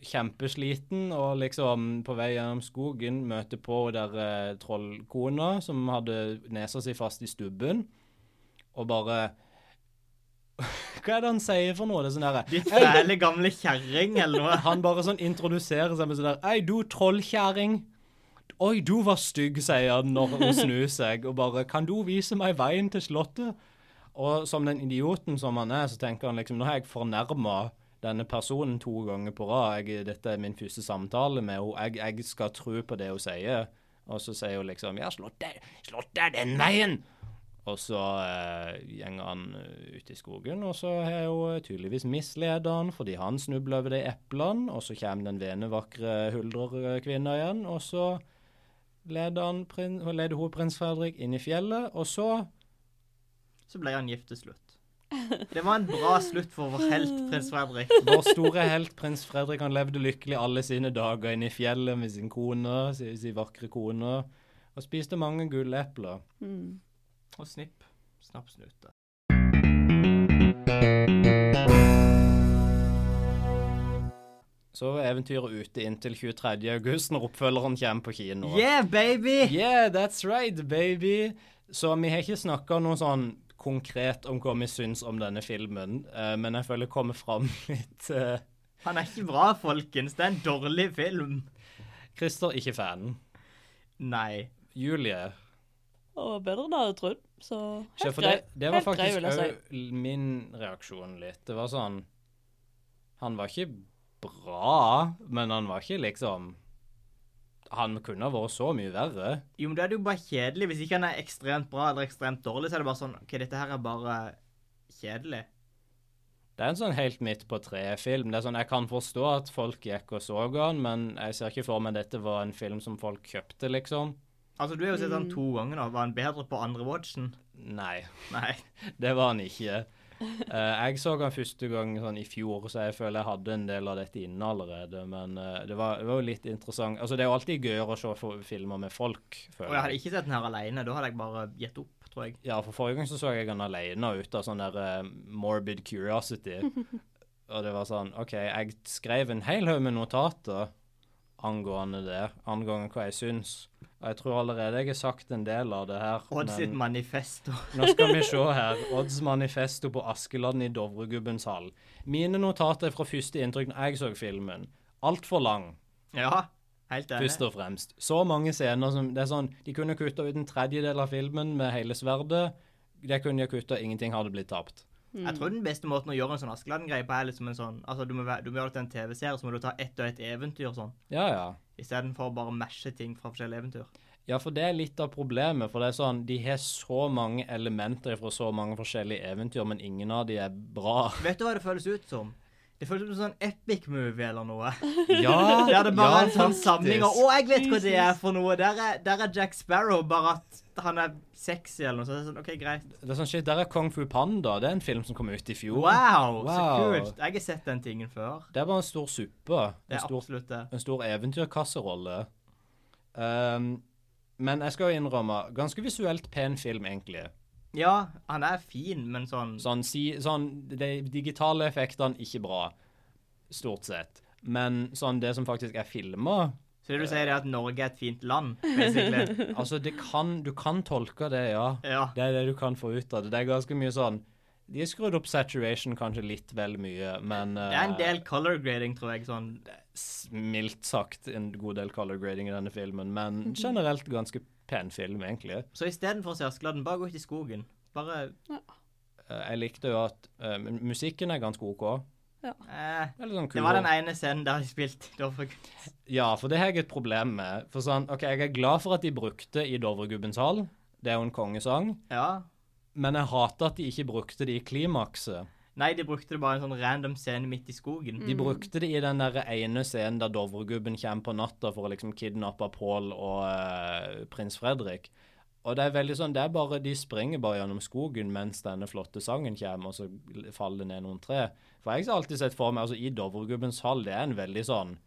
[SPEAKER 3] kjempesliten og liksom på vei gjennom skogen møter på der eh, trollkona som hadde nesa si fast i stubben, og bare Hva er det han sier for noe? Det er sånn derre
[SPEAKER 2] Din fæle gamle kjerring, eller noe.
[SPEAKER 3] Han bare sånn introduserer seg med sånn der Ei, du trollkjæring. Oi, du var stygg, sier han når hun snur seg, og bare Kan du vise meg veien til slottet? Og som den idioten som han er, så tenker han liksom Nå har jeg fornærma denne personen to ganger på rad. Jeg, dette er min første samtale med henne. Jeg, jeg skal tro på det hun sier. Og så sier hun liksom Ja, slottet, slottet er den veien. Og så eh, gjenger han eh, ut i skogen, og så har hun tydeligvis misleda han fordi han snubler over de eplene, og så kommer den venevakre huldrekvinna igjen, og så leder, han prin leder hun prins Fredrik inn i fjellet, og så
[SPEAKER 2] Så ble han gift til slutt. Det var en bra slutt for vår helt prins Fredrik.
[SPEAKER 3] Vår store helt prins Fredrik han levde lykkelig alle sine dager inne i fjellet med sin kone, sin, sin vakre kone, og spiste mange gullepler.
[SPEAKER 4] Mm.
[SPEAKER 2] Og snipp, snapp, snute.
[SPEAKER 3] Så var eventyret ute inntil 23. august, når oppfølgeren kommer på kino.
[SPEAKER 2] Yeah, baby!
[SPEAKER 3] Yeah, that's right, baby! Så vi har ikke snakka noe sånn konkret om hva vi syns om denne filmen, eh, men jeg føler det kommer fram litt eh,
[SPEAKER 2] Han er ikke bra, folkens. Det er en dårlig film.
[SPEAKER 3] Christer, ikke fanen.
[SPEAKER 2] Nei.
[SPEAKER 3] Julie.
[SPEAKER 4] Og bedre enn jeg hadde trodd, så
[SPEAKER 3] Ja,
[SPEAKER 4] helt
[SPEAKER 3] for
[SPEAKER 4] grei.
[SPEAKER 3] det, det var
[SPEAKER 4] Helt grei,
[SPEAKER 3] faktisk
[SPEAKER 4] vil jeg si.
[SPEAKER 3] òg min reaksjon litt. Det var sånn Han var ikke bra, men han var ikke liksom Han kunne ha vært så mye verre.
[SPEAKER 2] Jo, men da er det jo bare kjedelig. Hvis ikke han er ekstremt bra eller ekstremt dårlig, så er det bare sånn OK, dette her er bare kjedelig.
[SPEAKER 3] Det er en sånn helt midt på treet-film. Det er sånn, Jeg kan forstå at folk gikk og så den, men jeg ser ikke for meg dette var en film som folk kjøpte, liksom.
[SPEAKER 2] Altså, du har jo sett han to ganger nå. Var han bedre på andre watchen?
[SPEAKER 3] Nei,
[SPEAKER 2] Nei.
[SPEAKER 3] det var han ikke. Eh, jeg så han første gang sånn i fjor, så jeg føler jeg hadde en del av dette inne allerede. Men eh, det, var, det var jo litt interessant. Altså, Det er jo alltid gøyere å se for, filmer med folk,
[SPEAKER 2] Og
[SPEAKER 3] føler
[SPEAKER 2] jeg hadde ikke sett den her alene. Da hadde jeg bare gitt opp, tror jeg.
[SPEAKER 3] Ja, for forrige gang så så jeg han alene ut av sånn der eh, morbid curiosity. Og det var sånn OK, jeg skrev en hel haug med notater angående det, angående hva jeg syns. Og jeg tror allerede jeg har sagt en del av det her.
[SPEAKER 2] Odd sitt
[SPEAKER 3] men
[SPEAKER 2] manifesto.
[SPEAKER 3] nå skal vi se her. Odds manifesto på Askeladden i Dovregubbens hall. Mine notater er fra første inntrykk når jeg så filmen. Altfor lang.
[SPEAKER 2] Ja, helt enig.
[SPEAKER 3] Først og fremst. Så mange scener som det er sånn, De kunne kutta ut en tredjedel av filmen med hele sverdet. Det kunne de kutta, ingenting hadde blitt tapt.
[SPEAKER 2] Jeg tror den beste måten å gjøre en sånn Askeladden-greie på, er liksom en sånn Altså, du må, væ- du må gjøre det til en TV-serie, så må du ta ett og ett eventyr og sånn,
[SPEAKER 3] Ja, ja.
[SPEAKER 2] istedenfor å bare meshe ting fra forskjellige eventyr.
[SPEAKER 3] Ja, for det er litt av problemet. For det er sånn, de har så mange elementer fra så mange forskjellige eventyr, men ingen av de er bra.
[SPEAKER 2] Vet du hva det føles ut som? Det føles ut som en sånn epic-movie eller noe.
[SPEAKER 3] Ja,
[SPEAKER 2] Der det bare er en sånn
[SPEAKER 3] faktisk.
[SPEAKER 2] samling av Å, jeg vet hva det er for noe! Der er, der er Jack Sparrow, bare at han er sexy eller noe. Så det er sånn, OK, greit.
[SPEAKER 3] Det er sånn shit, Der er Kung Fu Panda. Det er en film som kom ut i fjor.
[SPEAKER 2] Wow, så
[SPEAKER 3] Wow.
[SPEAKER 2] kult. Jeg har sett den tingen før.
[SPEAKER 3] Det er bare en stor suppe.
[SPEAKER 2] Det
[SPEAKER 3] En
[SPEAKER 2] er
[SPEAKER 3] stor
[SPEAKER 2] absolutt det.
[SPEAKER 3] en stor eventyrkasserolle. Ehm, men jeg skal jo innrømme, ganske visuelt pen film, egentlig.
[SPEAKER 2] Ja, han er fin, men sånn
[SPEAKER 3] Sånn, si, sånn De digitale effektene ikke bra, stort sett. Men sånn det som faktisk er filma
[SPEAKER 2] Så det du sier, er at Norge er et fint land, basically.
[SPEAKER 3] Altså, det kan, du kan tolke det, ja.
[SPEAKER 2] Ja.
[SPEAKER 3] Det er det du kan få ut av det. Det er ganske mye sånn De har skrudd opp saturation kanskje litt vel mye, men
[SPEAKER 2] Det er en del color grading, tror jeg. sånn.
[SPEAKER 3] Mildt sagt en god del color grading i denne filmen, men generelt ganske pen film, egentlig.
[SPEAKER 2] Så istedenfor å se Askeladden, bare gå ut i skogen. Bare
[SPEAKER 3] Eh, Jeg likte jo at eh, men musikken er ganske OK.
[SPEAKER 2] eh,
[SPEAKER 3] Det, er litt sånn
[SPEAKER 2] Det
[SPEAKER 3] kul.
[SPEAKER 2] var den ene scenen der de spilte Dovre-
[SPEAKER 3] Ja, for det har jeg et problem med. For sånn, ok, Jeg er glad for at de brukte i Dovregubbens hall, det er jo en kongesang,
[SPEAKER 2] Ja.
[SPEAKER 3] men jeg hater at de ikke brukte det i klimakset.
[SPEAKER 2] Nei, de brukte det bare en sånn random scene midt i skogen.
[SPEAKER 4] Mm.
[SPEAKER 3] De brukte det i den der ene scenen der Dovregubben kommer på natta for å liksom kidnappe Pål og eh, prins Fredrik. Og det er veldig sånn, det er bare, De springer bare gjennom skogen mens denne flotte sangen kommer, og så l- faller det ned noen tre. For jeg har alltid sett for meg altså i Dovregubbens hall, det er en veldig sånn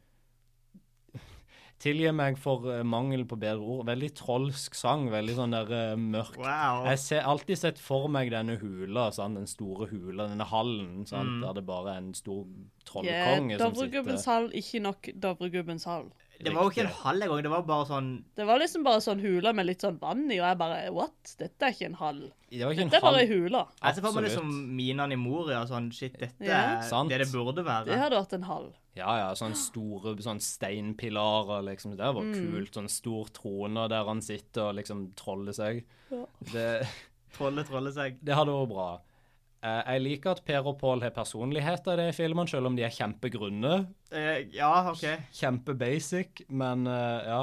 [SPEAKER 3] Tilgi meg for eh, mangel på bedre ord. Veldig trolsk sang. Veldig sånn der eh, mørk.
[SPEAKER 2] Wow.
[SPEAKER 3] Jeg har alltid sett for meg denne hula, sant? den store hula, denne hallen,
[SPEAKER 4] Mm.
[SPEAKER 3] sant? der det bare er en stor
[SPEAKER 4] Yeah,
[SPEAKER 3] trollkonge som
[SPEAKER 4] Dovregubbens
[SPEAKER 3] sitter
[SPEAKER 4] hall, ikke nok Dovregubbens hall.
[SPEAKER 2] Det var jo ikke en
[SPEAKER 3] Riktig.
[SPEAKER 2] halv engang. Det var bare sånn
[SPEAKER 4] Det var liksom bare sånn hule med litt sånn vann i, og jeg bare What? Dette er ikke en hall.
[SPEAKER 3] Det var ikke
[SPEAKER 4] Dette
[SPEAKER 3] en
[SPEAKER 4] er bare ei
[SPEAKER 3] hall.
[SPEAKER 4] hule.
[SPEAKER 2] Jeg ser for meg
[SPEAKER 3] Absolutt.
[SPEAKER 2] liksom minene i Moria og sånn Shit, dette
[SPEAKER 4] Ja.
[SPEAKER 2] er
[SPEAKER 3] Sant.
[SPEAKER 2] det det burde
[SPEAKER 4] Det
[SPEAKER 2] være.
[SPEAKER 4] hadde vært en hall.
[SPEAKER 3] Ja, ja, sånne store sånn steinpilarer, liksom. Det
[SPEAKER 4] Mm.
[SPEAKER 3] var kult. Sånn stor trone der han sitter og liksom troller seg.
[SPEAKER 4] Ja.
[SPEAKER 3] Det,
[SPEAKER 2] Trolle, trolle seg.
[SPEAKER 3] det hadde vært bra. Eh, Jeg liker at Per og Pål har personligheter i de filmene, selv om de er kjempegrunne.
[SPEAKER 2] Eh, ja, OK.
[SPEAKER 3] Kjempebasic, men eh, ja.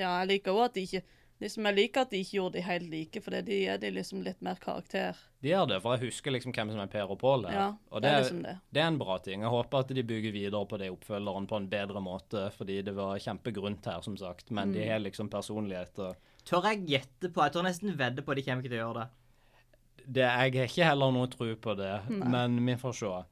[SPEAKER 4] Ja, jeg liker òg at de ikke Liksom, Jeg liker at de ikke gjorde de helt like, for de er de liksom litt mer karakter.
[SPEAKER 3] De gjør det, for jeg husker liksom hvem som er Per og Pål her.
[SPEAKER 4] Ja,
[SPEAKER 3] og det,
[SPEAKER 4] det er
[SPEAKER 3] er-
[SPEAKER 4] liksom det.
[SPEAKER 3] det er en bra ting. Jeg håper at de bygger videre på det i oppfølgeren på en bedre måte, fordi det var kjempegrunt her, som sagt. Men
[SPEAKER 4] Mm.
[SPEAKER 3] de har liksom personligheter.
[SPEAKER 2] Tør jeg gjette på Jeg tør nesten vedde på at de kommer ikke til å gjøre det.
[SPEAKER 3] det, jeg har ikke heller noe tro på det, men vi får se.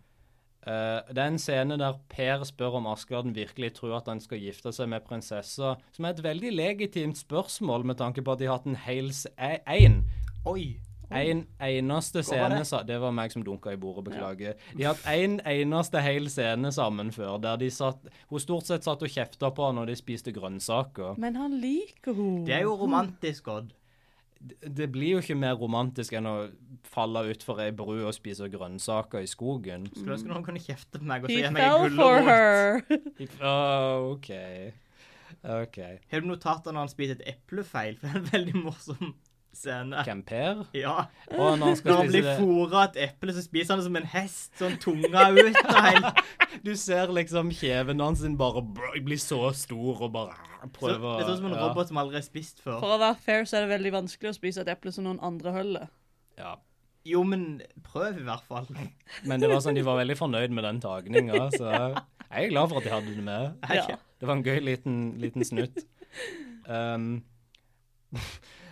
[SPEAKER 3] Eh, det er en scene der Per spør om Askeladden virkelig tror at han skal gifte seg med prinsessa, som er et veldig legitimt spørsmål med tanke på at de har hatt en hel s- e- en,
[SPEAKER 2] Oi.
[SPEAKER 3] en eneste
[SPEAKER 2] var
[SPEAKER 3] scene
[SPEAKER 2] det?
[SPEAKER 3] sa- Det var meg som dunka i bordet, beklager. De har hatt en eneste hel scene sammen før, der de satt Hun stort sett satt og kjefta på han når de spiste grønnsaker.
[SPEAKER 4] Men han liker henne.
[SPEAKER 2] Det er jo romantisk, Odd.
[SPEAKER 3] Det blir jo ikke mer romantisk enn å falle utfor ei bru og spise grønnsaker i skogen.
[SPEAKER 2] Skulle ønske noen kunne kjefte på meg og så
[SPEAKER 4] He
[SPEAKER 2] gi meg en
[SPEAKER 4] fell for
[SPEAKER 2] gulrot.
[SPEAKER 4] her.
[SPEAKER 3] Ja, Ah, OK. OK.
[SPEAKER 2] Har du notater når han spiser et eple feil? For det er en veldig morsom scene.
[SPEAKER 3] Hvem Per?
[SPEAKER 2] Ja.
[SPEAKER 3] Og når han
[SPEAKER 2] Når
[SPEAKER 3] skal
[SPEAKER 2] han blir
[SPEAKER 3] spise det
[SPEAKER 2] fôra et eple, så spiser han det som en hest. Sånn tunga ut og helt
[SPEAKER 3] Du ser liksom kjeven hans sin bare br- bli så stor og bare
[SPEAKER 2] så,
[SPEAKER 3] prøver
[SPEAKER 2] Det er sånn som en
[SPEAKER 3] ja,
[SPEAKER 2] robot som aldri er spist før.
[SPEAKER 4] For å være fair så er det veldig vanskelig å spise et eple som noen andre holder.
[SPEAKER 3] Ja.
[SPEAKER 2] Jo, men prøv i hvert fall.
[SPEAKER 3] Men det var sånn, de var veldig fornøyd med den tagninga, så jeg er glad for at de hadde det med.
[SPEAKER 2] Jeg-
[SPEAKER 4] Ja.
[SPEAKER 3] Det var en gøy liten, liten snutt. Um,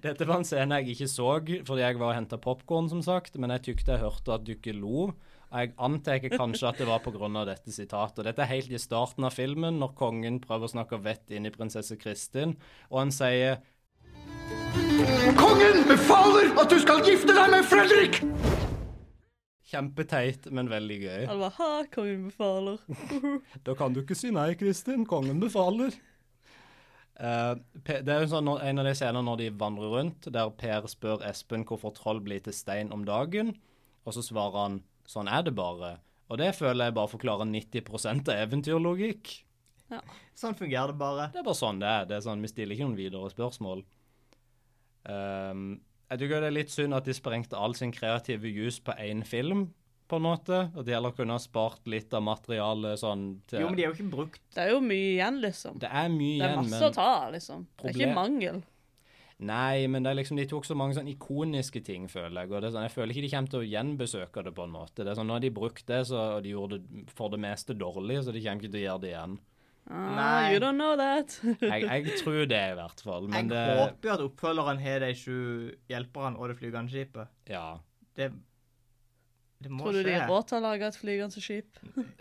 [SPEAKER 3] dette var en scene jeg ikke så fordi jeg var og henta popkorn, som sagt, men jeg tykte jeg hørte at Dukke lo. Og Jeg antar kanskje at det var pga. dette sitatet. Og Dette er helt i starten av filmen, når kongen prøver å snakke vett inn i prinsesse Kristin, og han sier
[SPEAKER 5] Kongen befaler at du skal gifte deg med Fredrik!
[SPEAKER 3] Kjempeteit, men veldig gøy.
[SPEAKER 4] Han bare ha, kongen befaler.
[SPEAKER 3] Da kan du ikke si nei, Kristin. Kongen befaler. Eh, Per- det er jo sånn, når- En av de scenene når de vandrer rundt, der Per spør Espen hvorfor troll blir til stein om dagen, og så svarer han 'sånn er det bare'. Og det føler jeg bare forklarer 90 av eventyrlogikk.
[SPEAKER 2] Sånn fungerer det bare.
[SPEAKER 3] Det er bare sånn det er. det er sånn, Vi stiller ikke noen videre spørsmål. Ehm, jeg tykker det er litt synd at de sprengte all sin kreative jus på én film, på en måte. At de heller kunne ha spart litt av materialet sånn til
[SPEAKER 2] Jo, men de er jo ikke brukt.
[SPEAKER 4] Det er jo mye igjen, liksom.
[SPEAKER 3] Det er mye
[SPEAKER 4] Det er
[SPEAKER 3] igjen,
[SPEAKER 4] masse å
[SPEAKER 3] men
[SPEAKER 4] ta av, liksom. Det er
[SPEAKER 3] Problem-
[SPEAKER 4] ikke mangel.
[SPEAKER 3] Nei, men det er liksom, de tok så mange sånn ikoniske ting, føler jeg. Og det er sånn, jeg føler ikke de kommer til å gjenbesøke det på en måte. Det er sånn, Nå har de brukt det, så, og de gjorde det for det meste dårlig, så de kommer ikke til å gjøre det igjen.
[SPEAKER 4] Ah,
[SPEAKER 2] Nei.
[SPEAKER 4] You don't know that.
[SPEAKER 3] Jeg, jeg tror det, i hvert fall.
[SPEAKER 2] Jeg
[SPEAKER 3] Men det
[SPEAKER 2] håper jo at oppfølgeren har de sju hjelperne og det flygende skipet.
[SPEAKER 3] Ja.
[SPEAKER 2] Det, det må
[SPEAKER 4] Tror du de
[SPEAKER 2] skje.
[SPEAKER 4] har råd til å lage et flygende skip?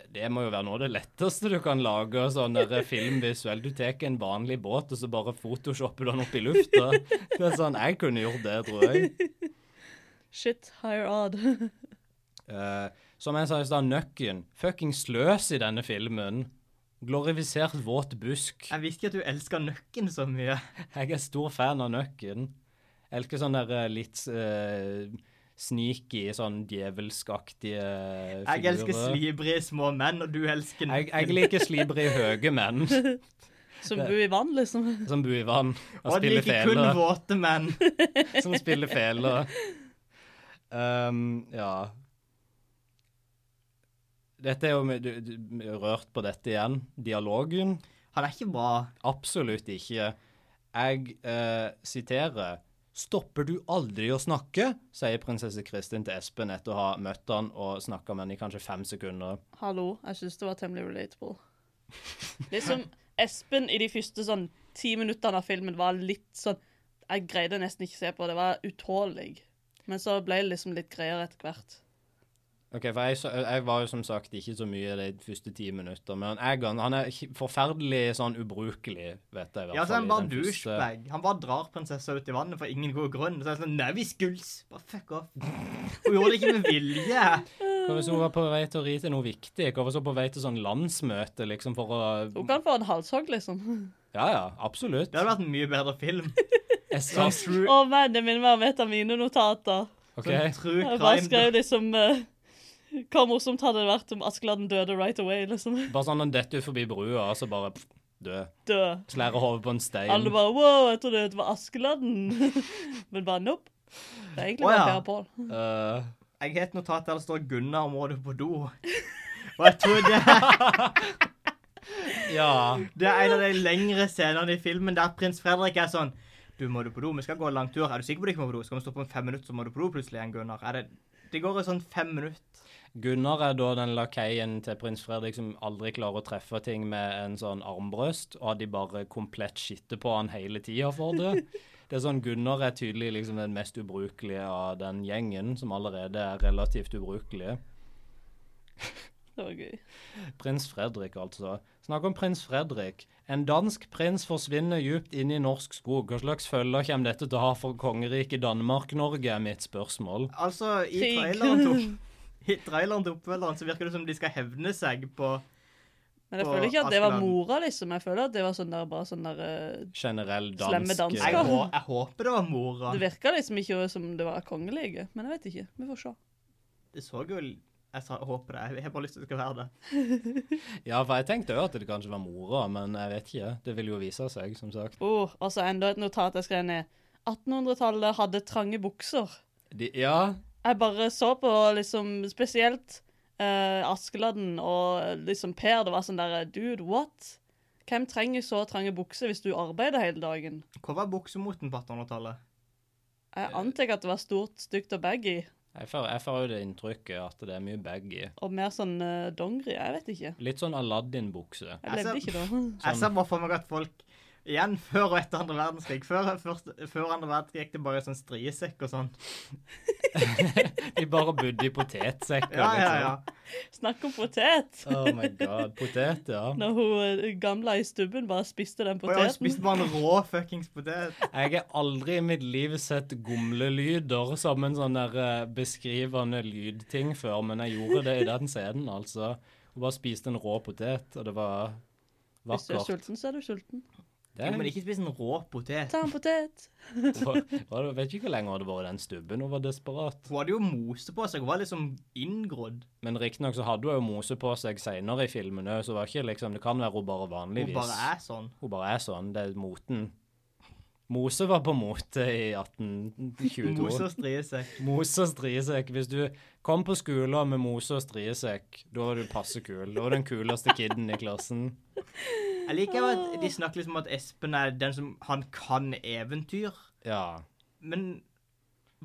[SPEAKER 3] Det må jo være noe av det letteste du kan lage sånn der film visuelt. Du tar en vanlig båt, og så bare photoshopper du den opp i lufta. Det er sånn, Jeg kunne gjort det, tror jeg.
[SPEAKER 4] Shit, higher odd.
[SPEAKER 3] Eh, som jeg sa i stad, nøkken. Fucking sløs i denne filmen. Glorifisert våt busk.
[SPEAKER 2] Jeg visste ikke at du elska nøkken så mye.
[SPEAKER 3] Jeg er stor fan av nøkken. Jeg elsker sånne der eh, litt eh, sneaky, sånn djevelskaktige figurer.
[SPEAKER 2] Jeg elsker slibrige små menn, og du elsker
[SPEAKER 3] Jeg,
[SPEAKER 2] nøkken.
[SPEAKER 3] jeg liker slibrige høye menn
[SPEAKER 4] Som bor i vann, liksom.
[SPEAKER 3] som bor i vann og
[SPEAKER 2] Og du
[SPEAKER 3] spiller
[SPEAKER 2] liker kun
[SPEAKER 3] fele.
[SPEAKER 2] våte menn.
[SPEAKER 3] Som spiller fele. Um, ja. Dette er jo med- du- du- rørt på dette igjen. Dialogen.
[SPEAKER 2] Han er ikke bra.
[SPEAKER 3] Absolutt ikke. Jeg eh, siterer Stopper du aldri å snakke? sier prinsesse Kristin til Espen etter å ha møtt han og snakka med han i kanskje fem sekunder.
[SPEAKER 4] Hallo, jeg syns det var temmelig relatable. Liksom, Espen i de første sånn ti minuttene av filmen var litt sånn Jeg greide nesten ikke å se på, det var utålelig. Men så ble det liksom litt greiere etter hvert.
[SPEAKER 3] Ok, for jeg, så- jeg var jo som sagt ikke så mye de første ti minutter, men Egan han er hi- forferdelig sånn ubrukelig, vet jeg i hvert
[SPEAKER 2] Ja, så
[SPEAKER 3] fall.
[SPEAKER 2] han
[SPEAKER 3] i
[SPEAKER 2] bare
[SPEAKER 3] den første-
[SPEAKER 2] douchebag. Han bare drar prinsessa ut i vannet for ingen god grunn. Så er det sånn Nei, vi skuls! Bare fuck off. Hun gjorde det ikke med vilje.
[SPEAKER 3] Hva hvis hun var på vei til å ri til noe viktig? Hva hvis hun var på vei til sånn landsmøte, liksom, for å
[SPEAKER 4] Hun kan få en halshogg, liksom.
[SPEAKER 3] Ja, ja, absolutt.
[SPEAKER 2] Det hadde vært en mye bedre film.
[SPEAKER 3] Jeg sa
[SPEAKER 4] Å,
[SPEAKER 2] True,
[SPEAKER 4] mannen min var vitaminenotater.
[SPEAKER 3] OK.
[SPEAKER 2] sånn true
[SPEAKER 4] Jeg bare skrev
[SPEAKER 2] crime.
[SPEAKER 4] liksom eh, Hva morsomt hadde det vært om Askeladden døde right away? liksom.
[SPEAKER 3] Bare sånn han detter utfor brua, og så bare pff, dø.
[SPEAKER 4] Dø.
[SPEAKER 3] Slærer hodet på en stein.
[SPEAKER 4] Alle bare Wow, jeg trodde det var Askeladden. Men bare nope. Det er
[SPEAKER 2] Å,
[SPEAKER 4] egentlig bare
[SPEAKER 2] ja.
[SPEAKER 4] Per Pål.
[SPEAKER 3] Eh,
[SPEAKER 2] Jeg har et notat der det står 'Gunnar, må du på do'? Og jeg tror det er,
[SPEAKER 3] ja.
[SPEAKER 2] det er en av de lengre scenene i filmen der prins Fredrik er sånn Du, må du på do? Vi skal gå en lang tur. Er du sikker på du ikke må på do? Skal vi stoppe om fem minutter, så må du på do plutselig igjen, Gunnar. Er det, det går i sånn fem minutter.
[SPEAKER 3] Gunnar er da den lakeien til prins Fredrik som aldri klarer å treffe ting med en sånn armbrøst, og de bare komplett skitter på han hele tida for det. Det er sånn Gunnar er tydelig liksom den mest ubrukelige av den gjengen, som allerede er relativt ubrukelige.
[SPEAKER 4] Det var gøy.
[SPEAKER 3] Prins Fredrik, altså. Snakk om prins Fredrik. En dansk prins forsvinner djupt inn i norsk skog. Hva slags følger kommer dette til å ha for kongeriket Danmark-Norge, er mitt spørsmål.
[SPEAKER 2] Altså, i
[SPEAKER 4] Krig.
[SPEAKER 2] traileren til opp- i traileren til oppfølgeren så virker det som de skal hevne seg på
[SPEAKER 4] Men jeg
[SPEAKER 2] på
[SPEAKER 4] føler ikke at det var
[SPEAKER 2] Askeladden.
[SPEAKER 4] mora, liksom. Jeg føler at det var sånn der, bare sånn der eh,
[SPEAKER 3] Generell
[SPEAKER 4] Slemme
[SPEAKER 3] dansk
[SPEAKER 4] dansker.
[SPEAKER 2] Jeg, hå jeg håper det var mora.
[SPEAKER 4] Det virka liksom ikke som det var kongelige, men jeg vet ikke. Vi får se.
[SPEAKER 2] Det så jo Jeg sa, håper det. Jeg har bare lyst til at det skal være det.
[SPEAKER 3] Ja, for jeg tenkte jo at det kanskje var mora, men jeg vet ikke. Det vil jo vise seg, som sagt.
[SPEAKER 4] Oh, og så enda et notat jeg skrev ned. 1800-tallet hadde trange bukser.
[SPEAKER 3] De, ja,
[SPEAKER 4] Jeg bare så på liksom spesielt eh, Askeladden og liksom Per. Det var sånn derre Dude, what? Hvem trenger så trange bukser hvis du arbeider hele dagen?
[SPEAKER 2] Hva var buksemoten på 1800-tallet?
[SPEAKER 4] Jeg antar at det var stort, stygt og baggy.
[SPEAKER 3] jeg får, jeg får jo det inntrykket at det er mye baggy.
[SPEAKER 4] Og mer sånn eh, dongeri. Jeg vet ikke.
[SPEAKER 3] Litt sånn Aladdin-bukse.
[SPEAKER 4] Jeg
[SPEAKER 2] Altså-
[SPEAKER 4] levde ikke da.
[SPEAKER 2] Jeg ser bare for meg at folk igjen før og etter andre verdenskrig Før, først, før andre verdenskrig gikk det bare i sånn striesekk og sånn.
[SPEAKER 3] De bare bodde i potetsekker.
[SPEAKER 2] Ja, ja, ja.
[SPEAKER 4] Snakk om potet!
[SPEAKER 3] liksom. Oh my god. Potet, ja.
[SPEAKER 4] Når hun eh, gamla i stubben bare spiste den
[SPEAKER 2] Og jeg
[SPEAKER 4] poteten.
[SPEAKER 2] spiste bare en rå fuckings potet.
[SPEAKER 3] Jeg har aldri i mitt liv sett gomlelyder som en sånn der eh, beskrivende lydting før, men jeg gjorde det i den scenen, altså. Hun bare spiste en rå potet, og det var
[SPEAKER 4] Hvis du er
[SPEAKER 3] vakkert.
[SPEAKER 4] sulten, så er du sulten.
[SPEAKER 3] Det
[SPEAKER 2] Jo,
[SPEAKER 3] er
[SPEAKER 2] men ikke spis en rå potet.
[SPEAKER 4] Ta en potet.
[SPEAKER 3] Hva- hva- Jeg vet ikke hvor lenge hun hadde vært i den stubben. Hun var desperat.
[SPEAKER 2] Hun hadde jo mose på seg. Hun var liksom inngrodd.
[SPEAKER 3] Men riktignok så hadde hun jo mose på seg seinere i filmen òg, så var ikke liksom, det kan være hun bare
[SPEAKER 2] Hun
[SPEAKER 3] vanligvis
[SPEAKER 2] bare er sånn.
[SPEAKER 3] Hun bare er sånn. Det er moten. Mose var på mote i 1822.
[SPEAKER 2] Mose og striesekk.
[SPEAKER 3] Mose og striesekk. Hvis du kom på skolen med mose og striesekk, da var du passe kul. Da var du den kuleste kiden i klassen.
[SPEAKER 2] Jeg liker jo at de snakker liksom om at Espen er den som Han kan eventyr.
[SPEAKER 3] Ja.
[SPEAKER 2] Men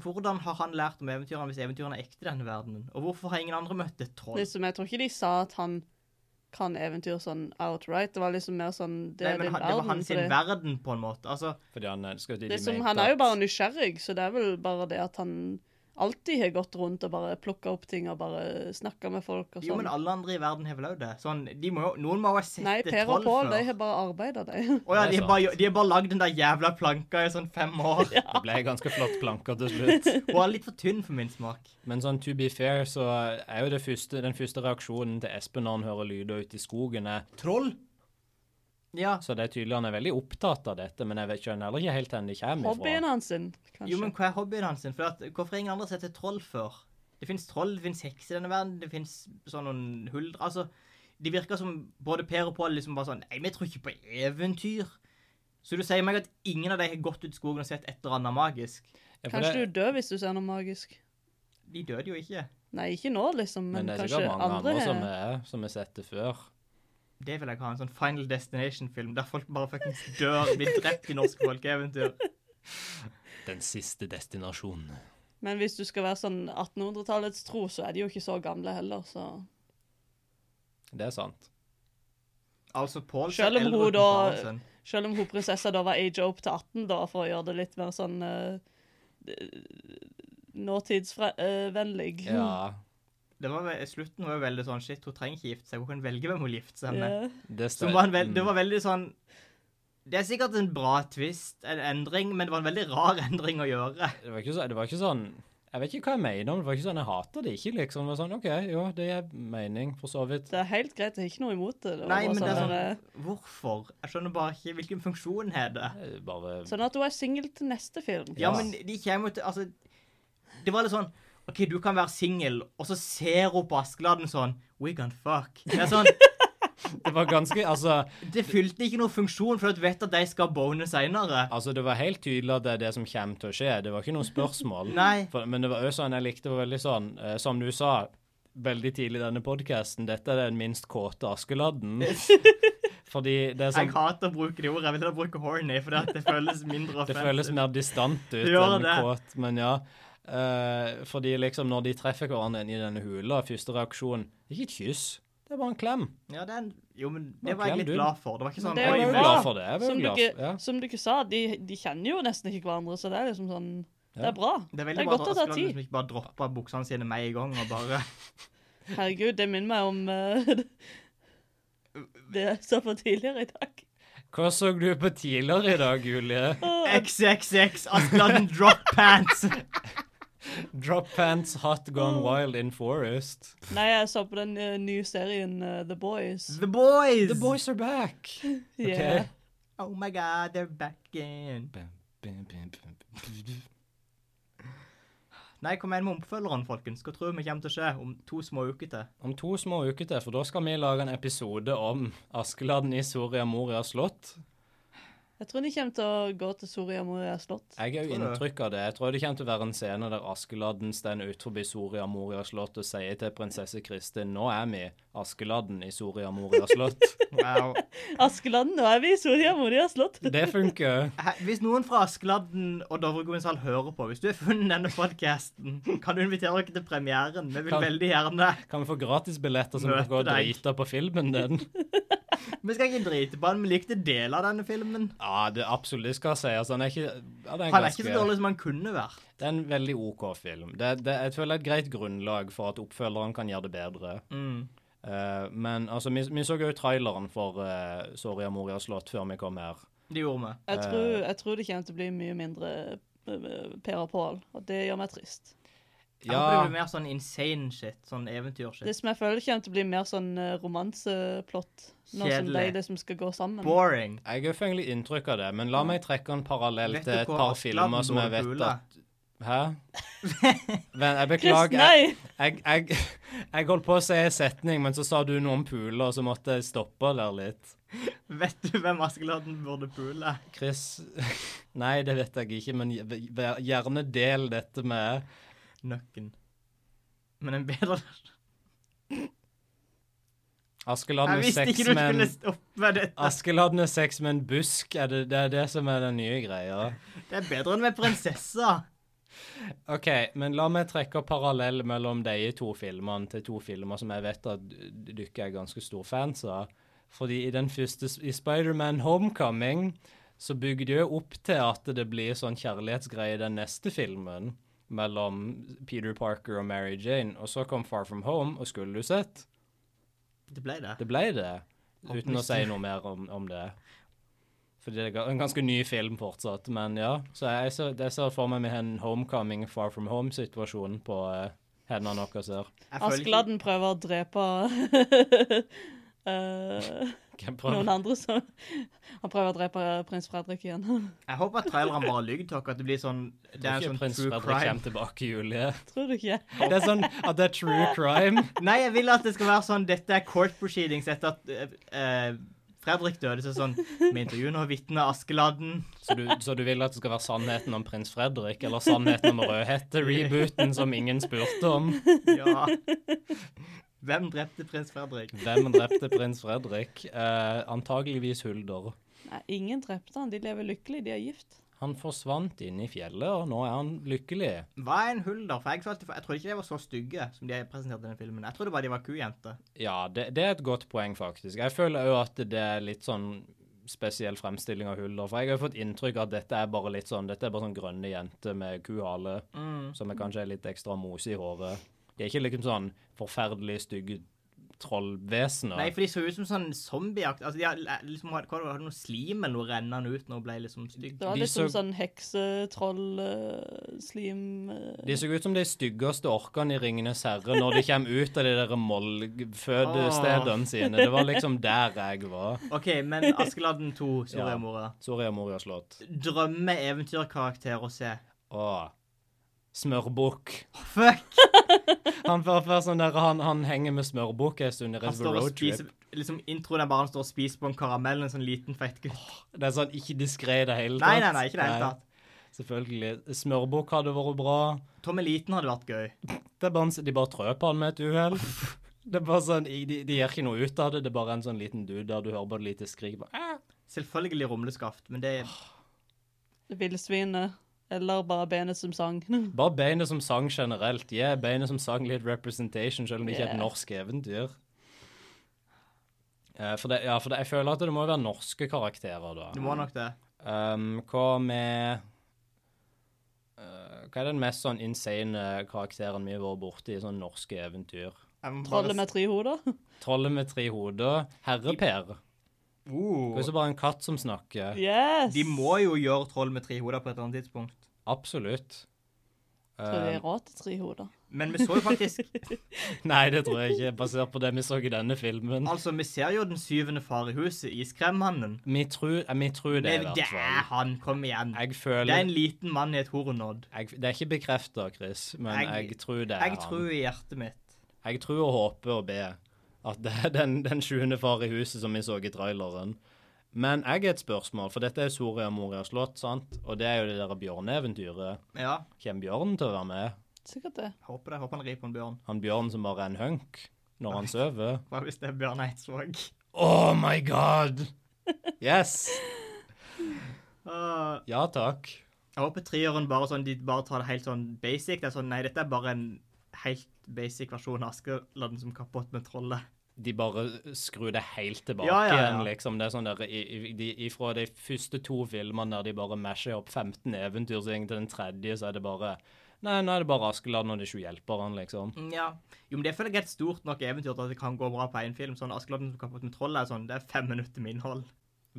[SPEAKER 2] hvordan har han lært om eventyrene hvis eventyrene er ekte i denne verdenen? Og hvorfor har ingen andre møtt et troll?
[SPEAKER 4] Liksom, jeg tror ikke de sa at han kan eventyr sånn outright. Det var liksom mer sånn Det
[SPEAKER 2] Nei,
[SPEAKER 4] er
[SPEAKER 2] men
[SPEAKER 4] din
[SPEAKER 2] han, det var
[SPEAKER 4] verden.
[SPEAKER 2] hans sin
[SPEAKER 4] for det-
[SPEAKER 2] verden, på en måte. Altså,
[SPEAKER 3] Fordi han, er- skal de, de
[SPEAKER 4] det er som,
[SPEAKER 3] mente
[SPEAKER 4] han er jo
[SPEAKER 3] at-
[SPEAKER 4] bare nysgjerrig, så det er vel bare det at han alltid har gått rundt og bare plukka opp ting og bare snakka med folk og
[SPEAKER 2] jo, men
[SPEAKER 4] sånn.
[SPEAKER 2] alle andre i verden har vel òg det. Sånn, de må jo, noen må jo ha sett
[SPEAKER 4] Nei,
[SPEAKER 2] et
[SPEAKER 4] Per og
[SPEAKER 2] troll
[SPEAKER 4] Pål, de
[SPEAKER 2] før.
[SPEAKER 4] har bare arbeida, de.
[SPEAKER 2] Å ja,
[SPEAKER 3] Det er
[SPEAKER 2] de har bare, de har bare lagd den der jævla planka i sånn fem år.
[SPEAKER 3] Det ble ganske flott planker til slutt.
[SPEAKER 2] Hun er litt for tynn for min smak.
[SPEAKER 3] Men sånn to be fair, så er jo det første, den første reaksjonen til Espen når han hører lyder ute i skogen, er troll.
[SPEAKER 2] Ja,
[SPEAKER 3] Så det er tydelig han er veldig opptatt av dette, men jeg vet skjønner heller ikke helt hvor de kommer
[SPEAKER 4] Hobbyen
[SPEAKER 3] ifra.
[SPEAKER 4] hans sin, kanskje.
[SPEAKER 2] Jo, men hva er hobbyen hans? sin? For at, hvorfor har ingen andre sett et troll før? Det fins troll, det fins hekser i denne verden, det fins sånn noen huldre Altså, de virker som både Per og Pål liksom bare sånn Nei, vi tror ikke på eventyr. Så du sier meg at ingen av de har gått ut i skogen og sett et eller annet magisk?
[SPEAKER 3] Ja, for
[SPEAKER 4] Kanskje
[SPEAKER 3] det-
[SPEAKER 4] du dør hvis du ser noe magisk.
[SPEAKER 2] De døde jo ikke.
[SPEAKER 4] Nei, ikke nå, liksom,
[SPEAKER 3] Men
[SPEAKER 4] men,
[SPEAKER 3] det er
[SPEAKER 4] kanskje
[SPEAKER 3] sikkert mange
[SPEAKER 4] andre
[SPEAKER 3] andre
[SPEAKER 4] har
[SPEAKER 3] som er, som har sett det før.
[SPEAKER 2] Det vil jeg ha, en sånn Final Destination-film der folk bare fuckings dør, blir drept i norske folkeeventyr.
[SPEAKER 3] Den siste destinasjonen.
[SPEAKER 4] Men hvis du skal være sånn 1800-tallets tro, så er de jo ikke så gamle heller, så
[SPEAKER 3] Det er sant.
[SPEAKER 2] Altså, Pål ser
[SPEAKER 4] Selv om
[SPEAKER 2] eldre
[SPEAKER 4] hun
[SPEAKER 2] ut enn
[SPEAKER 4] da-
[SPEAKER 2] faren sin.
[SPEAKER 4] Selv om hun prinsessa da var age opp til 18, da, for å gjøre det litt mer sånn eh, nåtidsvennlig.
[SPEAKER 3] Ja.
[SPEAKER 2] det var, ve- slutten var jo veldig sånn Shit, hun trenger ikke gifte seg. Hun kan velge hvem hun gifter seg med.
[SPEAKER 4] Ja.
[SPEAKER 3] Det,
[SPEAKER 2] Som var en
[SPEAKER 3] Mm.
[SPEAKER 2] veld, det var veldig sånn Det er sikkert en bra twist, en endring, men det var en veldig rar endring å gjøre.
[SPEAKER 3] Mm. det, var ikke så, det var ikke sånn Jeg vet ikke hva jeg mener, men det var ikke sånn jeg hater det ikke, liksom. Det var sånn, OK, jo, det gir mening, for så vidt.
[SPEAKER 4] Det er helt greit, jeg har ikke noe imot det. det var
[SPEAKER 2] Nei,
[SPEAKER 4] bare
[SPEAKER 2] men det er
[SPEAKER 4] sånn,
[SPEAKER 2] sånn
[SPEAKER 4] der,
[SPEAKER 2] Hvorfor? Jeg skjønner bare ikke hvilken funksjon har det.
[SPEAKER 3] Eh, Bare
[SPEAKER 4] eh, sånn at hun er singel til neste film.
[SPEAKER 2] Ja,
[SPEAKER 3] Ja.
[SPEAKER 2] men de kommer jo til Altså, det var litt sånn OK, du kan være singel, og så ser hun på Askeladden sånn We can fuck. Det er sånn
[SPEAKER 3] Det var ganske Altså,
[SPEAKER 2] Det fylte ikke noen funksjon, for du vet at de skal bone seinere.
[SPEAKER 3] altså det var helt tydelig at det er det som kommer til å skje. Det var ikke noe spørsmål.
[SPEAKER 2] Nei.
[SPEAKER 3] For, men det var også sånn jeg likte var veldig sånn eh, Som du sa veldig tidlig i denne podkasten, dette er den minst kåte Askeladden. Fordi det er
[SPEAKER 2] Jeg
[SPEAKER 3] sånn
[SPEAKER 2] hater å bruke det ordet. Jeg vil heller bruke horny, for det, at det føles mindre
[SPEAKER 3] Det føles
[SPEAKER 2] offensivt.
[SPEAKER 3] mer distant ut
[SPEAKER 2] gjør
[SPEAKER 3] enn
[SPEAKER 2] det.
[SPEAKER 3] kåt, men ja. Eh, fordi liksom når de treffer hverandre i denne hula, første reaksjon Det er ikke et kyss, det er bare en klem.
[SPEAKER 2] Ja, det er en- jo, men det
[SPEAKER 3] Nå
[SPEAKER 2] var jeg
[SPEAKER 3] klem
[SPEAKER 2] litt
[SPEAKER 3] du.
[SPEAKER 2] glad for. Det var ikke sånn
[SPEAKER 4] Det er
[SPEAKER 3] Jeg
[SPEAKER 2] «Oi,
[SPEAKER 3] var jo
[SPEAKER 4] bra.
[SPEAKER 2] men-
[SPEAKER 3] glad for det. Jeg var jo
[SPEAKER 4] Som du,
[SPEAKER 3] glad
[SPEAKER 4] ikke,
[SPEAKER 3] for, ja.
[SPEAKER 4] som du ikke sa, de, de kjenner jo nesten ikke hverandre, så det er liksom sånn Det
[SPEAKER 3] Ja.
[SPEAKER 4] er bra.
[SPEAKER 2] Det er veldig
[SPEAKER 4] Det er
[SPEAKER 2] bra
[SPEAKER 4] godt
[SPEAKER 2] at
[SPEAKER 4] å ta
[SPEAKER 2] Askeladden
[SPEAKER 4] tid.
[SPEAKER 2] liksom ikke bare droppa buksene sine med en gang og bare
[SPEAKER 4] Herregud, det minner meg om eh, det jeg sa på tidligere i dag.
[SPEAKER 3] Hva så du på tidligere i dag, Julie?
[SPEAKER 2] XXX, Askeladden drop pants!
[SPEAKER 3] Drop pants, hot gone wild in forest.
[SPEAKER 4] Nei, jeg så på den eh, nye serien eh, The Boys.
[SPEAKER 2] The boys!
[SPEAKER 3] The boys are back.
[SPEAKER 2] Mm,
[SPEAKER 4] Yeah.
[SPEAKER 2] Oh my god, they're back in. Nei, kom igjen med oppfølgeren, folkens. Hva tror vi kommer til å skje om to små uker til?
[SPEAKER 3] Om to små uker til, for da skal vi lage en episode om Askeladden i Soria Moria slott.
[SPEAKER 4] Jeg tror de kommer til å gå til Soria Moria slott.
[SPEAKER 3] Jeg har jo
[SPEAKER 2] Tror du det?
[SPEAKER 3] inntrykk av det. Jeg tror det kommer til å være en scene der Askeladden står utenfor Soria Moria slott og sier til prinsesse Kristin Nå er vi Askeladden i Soria Moria slott.
[SPEAKER 2] Wow.
[SPEAKER 4] Askeland, nå er vi i Soria Moria slott.
[SPEAKER 3] Det funker.
[SPEAKER 2] Hæ, Hvis noen fra Askeladden og Dovregoens hall hører på, hvis du har funnet denne podcasten, kan du invitere dere til premieren. Vi vil
[SPEAKER 3] Kan-
[SPEAKER 2] veldig gjerne.
[SPEAKER 3] Kan vi få gratisbilletter som
[SPEAKER 2] Møte
[SPEAKER 3] går og
[SPEAKER 2] deg.
[SPEAKER 3] driter på filmen din?
[SPEAKER 2] Vi skal ikke drite på han, vi likte deler av denne filmen.
[SPEAKER 3] Ja, det absolutt det skal sies. Han er ikke ja, det er en
[SPEAKER 2] Han er ikke så
[SPEAKER 3] ganske-
[SPEAKER 2] dårlig som han kunne vært.
[SPEAKER 3] Det er en veldig OK film. Det, det, jeg føler det er et greit grunnlag for at oppfølgeren kan gjøre det bedre.
[SPEAKER 2] Mm.
[SPEAKER 3] Eh, men altså, vi, vi så jo traileren for eh, Soria Moria slott før vi kom her.
[SPEAKER 2] Det gjorde vi.
[SPEAKER 4] Jeg tror, jeg tror det kommer til å bli mye mindre eh, Per og Pål, og det gjør meg trist.
[SPEAKER 2] Jeg håper det
[SPEAKER 3] Ja,
[SPEAKER 2] blir mer sånn insane shit, sånn eventyrshit.
[SPEAKER 4] Det som jeg føler kommer til å bli mer sånn eh, romanseplott, nå som de
[SPEAKER 2] Kjedelig.
[SPEAKER 4] liksom skal gå sammen.
[SPEAKER 2] Boring.
[SPEAKER 3] jeg har fengelig inntrykk av det, men la meg trekke en parallell
[SPEAKER 2] Vet
[SPEAKER 3] til
[SPEAKER 2] du
[SPEAKER 3] et
[SPEAKER 2] hva
[SPEAKER 3] par
[SPEAKER 2] Askeladden
[SPEAKER 3] filmer som
[SPEAKER 2] går
[SPEAKER 3] jeg
[SPEAKER 2] i
[SPEAKER 3] vet
[SPEAKER 2] kula?
[SPEAKER 3] at Hæ? Men jeg
[SPEAKER 4] Kristen,
[SPEAKER 3] beklager. Jeg,
[SPEAKER 4] nei!
[SPEAKER 3] jeg, jeg, jeg holdt på å si en setning, men så sa du noe om puler, og så måtte jeg stoppe der litt.
[SPEAKER 2] Vet du hvem Askeladden burde pule?
[SPEAKER 3] Chris Nei, det vet jeg ikke, men gj- gjerne del dette med
[SPEAKER 2] Nøkken. Men en bedre Jeg
[SPEAKER 3] Askeladden er
[SPEAKER 2] visste
[SPEAKER 3] sex
[SPEAKER 2] ikke du
[SPEAKER 3] med
[SPEAKER 2] skulle
[SPEAKER 3] en
[SPEAKER 2] stoppe med dette.
[SPEAKER 3] Askeladden er sex med en busk, er det, det er det som er den nye greia.
[SPEAKER 2] Det er bedre enn med prinsessa.
[SPEAKER 3] OK, men la meg trekke opp parallell mellom de to filmene til to filmer som jeg vet at dere er ganske stor fans av. Fordi i den første, s- i Spiderman Homecoming, så bygger de jo opp til at det blir sånn kjærlighetsgreie i den neste filmen mellom Peter Parker og Mary Jane, og så kom Far From Home, og skulle du sett?
[SPEAKER 2] Det ble det.
[SPEAKER 3] Det ble det. Uten å
[SPEAKER 2] Håpløst.
[SPEAKER 3] si noe mer om, om det. Fordi det er ga- en ganske ny film fortsatt, men ja. Så jeg ser, jeg ser for meg med en homecoming, far from home-situasjon på eh, hendene deres her.
[SPEAKER 2] Jeg føler ikke-
[SPEAKER 4] Askeladden prøver å drepe eh,
[SPEAKER 3] Hvem
[SPEAKER 4] noen
[SPEAKER 3] prøver?
[SPEAKER 4] andre som Han prøver å drepe prins Fredrik igjen.
[SPEAKER 2] Jeg håper at traileren bare lyver til dere, at det blir sånn Det er
[SPEAKER 3] Det er
[SPEAKER 2] en
[SPEAKER 3] ikke
[SPEAKER 2] sånn
[SPEAKER 3] prins
[SPEAKER 2] true
[SPEAKER 3] Fredrik
[SPEAKER 2] crime.
[SPEAKER 3] kommer tilbake, Julie.
[SPEAKER 4] Tror du ikke?
[SPEAKER 3] Det er sånn at det er true crime.
[SPEAKER 2] Nei, jeg vil at det skal være sånn Dette er court proceedings etter at eh, eh, Fredrik døde. Så sånn Med intervju nå, vitne Askeladden.
[SPEAKER 3] Så du, så du vil at det skal være sannheten om prins Fredrik, eller sannheten om Rødhette-rebooten som ingen spurte om?
[SPEAKER 2] Ja. Hvem drepte prins Fredrik?
[SPEAKER 3] Hvem drepte prins Fredrik? Eh, antageligvis Hulder.
[SPEAKER 4] Nei, ingen drepte han. De lever lykkelig, de er gift.
[SPEAKER 3] Han forsvant inn i fjellet, og nå er han lykkelig.
[SPEAKER 2] Hva er en hulder? For jeg, følte, jeg trodde ikke de var så stygge som de presenterte i den filmen. Jeg trodde bare de var kujenter.
[SPEAKER 3] Ja, det, det er et godt poeng, faktisk. Jeg føler òg at det er litt sånn spesiell fremstilling av huller. For jeg har jo fått inntrykk av at dette er bare Mm. litt sånn Dette er bare sånn grønne jenter med kuhale som er kanskje er litt ekstra mose i håret. De er ikke liksom sånn forferdelig stygge trollvesener.
[SPEAKER 2] Nei, for de så ut som sånn zombieakt. Altså, de hadde liksom, hadde, hva var det, hadde noe slim eller noe rennende ut når hun ble liksom stygg.
[SPEAKER 4] Det var
[SPEAKER 3] De
[SPEAKER 4] liksom
[SPEAKER 3] så-
[SPEAKER 4] sånn eh, heksetroll-slim
[SPEAKER 3] De så ut som de styggeste orkene i Ringenes herre når de kommer ut av de der mollfødestedene sine. Det var liksom der jeg var.
[SPEAKER 2] OK, men Askeladden 2, Soria
[SPEAKER 3] Ja.
[SPEAKER 2] Moria.
[SPEAKER 3] Soria Moria slott.
[SPEAKER 2] Drømme-eventyrkarakter å se.
[SPEAKER 3] Åh. Smørbukk.
[SPEAKER 2] Fuck!
[SPEAKER 3] Han, var først sånn der, han, han henger med smørbukk en stund i
[SPEAKER 2] Han
[SPEAKER 3] resten av
[SPEAKER 2] står og
[SPEAKER 3] roadtrip.
[SPEAKER 2] spiser Liksom introen er bare han står og spiser på en karamell, en sånn liten feit gutt.
[SPEAKER 3] Det er sånn ikke diskré i det hele tatt.
[SPEAKER 2] Nei, nei, nei, ikke i det hele
[SPEAKER 3] Nei,
[SPEAKER 2] tatt.
[SPEAKER 3] Selvfølgelig. Smørbukk hadde vært bra.
[SPEAKER 2] Tom Eliten hadde vært gøy.
[SPEAKER 3] Det er bare, en s- de bare trøp han med et uhell. Det er bare sånn, i- de, de gjør ikke noe ut av det. Det er bare en sånn liten dude der du hører bare et lite skrik. Bare, "Ah."
[SPEAKER 2] Selvfølgelig rumleskaft, men det
[SPEAKER 4] villsvinet. eh, Eller bare benet som sang.
[SPEAKER 3] Bare beinet som sang generelt. Gi beinet som sang litt representation, selv om det ikke er et
[SPEAKER 4] Yeah.
[SPEAKER 3] norsk eventyr. Eh, For, det, ja, for det, jeg føler at det må jo være norske karakterer, da.
[SPEAKER 2] Du må nok det.
[SPEAKER 3] Um, hva med eh, Hva er den mest sånn insane karakteren vi har vært borti i sånne norske eventyr?
[SPEAKER 2] Jeg må bare
[SPEAKER 4] Trollet
[SPEAKER 2] s-
[SPEAKER 4] med tre hoder.
[SPEAKER 3] Trollet med tre hoder. Herre-Per. Det er
[SPEAKER 2] oh.
[SPEAKER 3] ikke bare en katt som snakker.
[SPEAKER 4] Yes!
[SPEAKER 2] De må jo gjøre troll med tre hoder på et eller annet tidspunkt.
[SPEAKER 3] Absolutt.
[SPEAKER 4] Tror de
[SPEAKER 3] Eh,
[SPEAKER 4] er råd til tre hoder.
[SPEAKER 2] Men vi så jo faktisk
[SPEAKER 3] nei, det tror jeg ikke, basert på det vi så i denne filmen.
[SPEAKER 2] Altså, vi ser jo den syvende far i huset, iskremmannen.
[SPEAKER 3] Vi tror, eh, vi tror det,
[SPEAKER 2] Det,
[SPEAKER 3] i
[SPEAKER 2] det
[SPEAKER 3] hvert
[SPEAKER 2] er
[SPEAKER 3] fall.
[SPEAKER 2] han, kom igjen.
[SPEAKER 3] Jeg
[SPEAKER 2] Det er en
[SPEAKER 3] føler
[SPEAKER 2] liten mann i et horonodd.
[SPEAKER 3] jeg, Det er ikke bekrefta, Chris, men
[SPEAKER 2] Jeg-
[SPEAKER 3] jeg, tror det er
[SPEAKER 2] Jeg tror i hjertet mitt.
[SPEAKER 3] han. Jeg tror og håper og ber at det er den, den sjuende far i huset som vi så i traileren. Men jeg har et spørsmål, for dette er Soria Moria slott, sant? Og det er jo det der bjørneeventyret.
[SPEAKER 2] Ja,
[SPEAKER 3] Kommer Bjørn til å være med?
[SPEAKER 4] Sikkert det.
[SPEAKER 2] jeg håper det. Jeg håper han rir på en bjørn.
[SPEAKER 3] Han Bjørn som bare er en hunk når han sover?
[SPEAKER 2] Hva hvis det er Bjørn Eidsvåg?
[SPEAKER 3] Oh my god! Yes!
[SPEAKER 2] Åh,
[SPEAKER 3] Ja takk.
[SPEAKER 2] jeg håper treeren bare sånn, de bare tar det helt sånn basic. Det er sånn, nei, dette er bare en helt basic versjon av Askeladden som kapott med trollet.
[SPEAKER 3] De bare skrur det helt tilbake
[SPEAKER 2] Ja, ja, ja.
[SPEAKER 3] igjen, liksom. Det er sånn der, i, i, de, Ifra de første to filmene der de bare masher opp 15 eventyr, så egentlig den tredje, så er det bare Nei, nå er det bare Askeladden og de sju hjelperne, liksom.
[SPEAKER 2] Mm, Ja. Jo, men det føler jeg er et stort nok eventyr til at det kan gå bra på en film. Sånn Askeladden som kapott med trollet er sånn, det er fem minutter med innhold.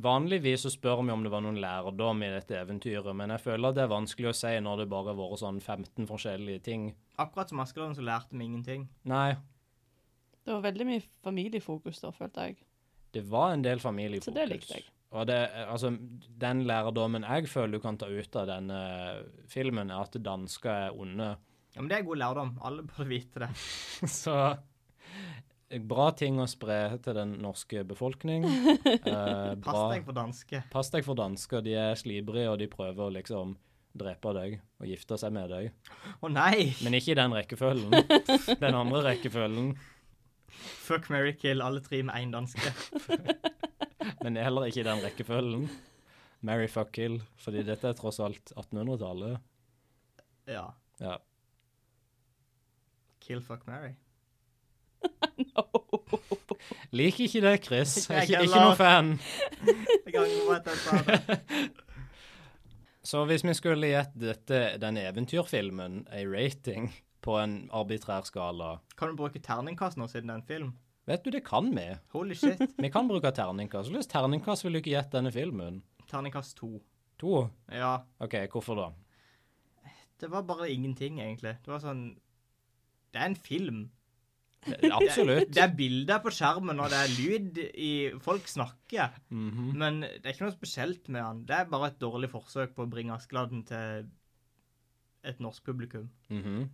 [SPEAKER 3] Vanligvis så spør vi om det var noen lærdom i dette eventyret, men jeg føler at det er vanskelig å si når det bare har vært sånn 15 forskjellige ting.
[SPEAKER 2] Akkurat som Askeladden så lærte vi ingenting.
[SPEAKER 3] Nei,
[SPEAKER 4] Det var veldig mye familiefokus da, følte jeg.
[SPEAKER 3] Det var en del familiefokus.
[SPEAKER 4] Så det likte jeg.
[SPEAKER 3] Og det, altså, den lærdommen jeg føler du kan ta ut av denne filmen, er at dansker er onde.
[SPEAKER 2] Ja, men det er god lærdom. Alle burde vite det.
[SPEAKER 3] Så eh, bra ting å spre til den norske befolkning. Eh,
[SPEAKER 2] Pass
[SPEAKER 3] bra.
[SPEAKER 2] deg for danske.
[SPEAKER 3] Pass deg for dansker. De er slibrige, og de prøver å liksom drepe deg og gifte seg med deg.
[SPEAKER 2] Å nei!
[SPEAKER 3] Men ikke i den rekkefølgen. Den andre rekkefølgen.
[SPEAKER 2] Fuck, marry, kill, alle tre med én danske.
[SPEAKER 3] Men heller ikke i den rekkefølgen. Marry, fuck, kill. Fordi dette er tross alt 1800-tallet.
[SPEAKER 2] Ja.
[SPEAKER 3] Ja.
[SPEAKER 2] Kill, fuck, marry.
[SPEAKER 3] Liker ikke det, Chris.
[SPEAKER 2] Ikke jeg
[SPEAKER 3] Jeg er ikke, ikke
[SPEAKER 2] heller.
[SPEAKER 3] noe fan.
[SPEAKER 2] Jeg angrer på at jeg sa det.
[SPEAKER 3] Så hvis vi skulle gitt dette, den eventyrfilmen ei rating på en arbitrær skala
[SPEAKER 2] Kan du bruke terningkast nå siden det er en film?
[SPEAKER 3] Vet du, det kan vi.
[SPEAKER 2] Holy shit.
[SPEAKER 3] Vi kan bruke terningkast. Hvis terningkast ville du ikke gitt denne filmen.
[SPEAKER 2] Terningkast to.
[SPEAKER 3] To?
[SPEAKER 2] Ja.
[SPEAKER 3] OK, hvorfor da?
[SPEAKER 2] Det var bare ingenting, egentlig. Det var sånn Det er en film.
[SPEAKER 3] Det- Absolutt.
[SPEAKER 2] Det er bilder på skjermen, og det er lyd i Folk snakker.
[SPEAKER 3] Mhm.
[SPEAKER 2] Men det er ikke noe spesielt med han. Det er bare et dårlig forsøk på å bringe Askeladden til et norsk publikum.
[SPEAKER 3] Mhm.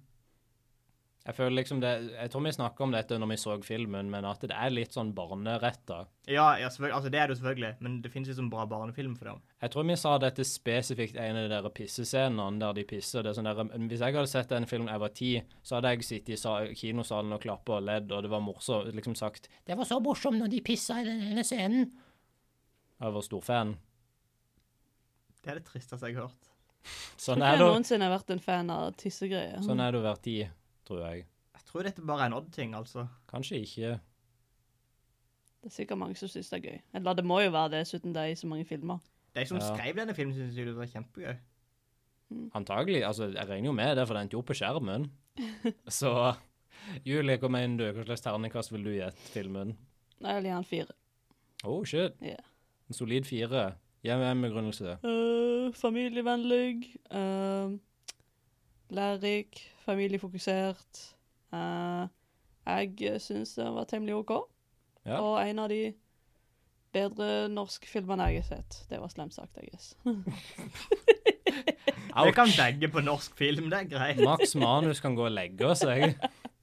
[SPEAKER 3] Jeg føler liksom det Jeg tror vi snakka om dette når vi så filmen, men at det er litt sånn barneretta.
[SPEAKER 2] Ja, ja selvfølgelig. Altså, det er det jo selvfølgelig, men det finnes jo som bra barnefilm for dem.
[SPEAKER 3] Jeg tror vi sa dette spesifikt en av de der pissescenene der de pisser. Det er sånn der, hvis jeg hadde sett en film da jeg var ti, så hadde jeg sittet i sa- kinosalen og klappa og ledd, og det var morsomt. Liksom sagt 'Det var så morsomt når de pissa i den ene scenen'. Jeg var stor fan.
[SPEAKER 2] Det er det tristeste jeg har hørt.
[SPEAKER 3] Sånn
[SPEAKER 4] Tror
[SPEAKER 3] er
[SPEAKER 4] ikke jeg
[SPEAKER 3] det
[SPEAKER 4] noensinne har vært en fan av tissegreier.
[SPEAKER 3] sånn er det å være ti, tror jeg.
[SPEAKER 2] Jeg tror dette bare er en odd-ting, altså.
[SPEAKER 3] Kanskje ikke.
[SPEAKER 4] Det er sikkert mange som syns det er gøy. Eller det må jo være det, siden det er i så mange filmer.
[SPEAKER 2] De som
[SPEAKER 3] Ja.
[SPEAKER 2] skrev denne filmen, syntes jo det var kjempegøy.
[SPEAKER 3] Antagelig. Altså, jeg regner jo med det, for den tok på skjermen. Så Julie, hva mener du? Hva slags terningkast vil du gi filmen?
[SPEAKER 4] Nei, Jeg vil gi han fire.
[SPEAKER 3] Oh, shit.
[SPEAKER 4] Ja.
[SPEAKER 3] En solid fire. Gi meg en begrunnelse.
[SPEAKER 4] Eh, familievennlig. eh, lærerik. Familiefokusert. Eh, jeg syns den var temmelig OK.
[SPEAKER 3] Ja.
[SPEAKER 4] Og en av de bedre norske filmene jeg har sett. Det var slemt sagt, jeg guess.
[SPEAKER 2] Vi kan begge på norsk film, det er greit.
[SPEAKER 3] Max Manus kan gå og legge seg.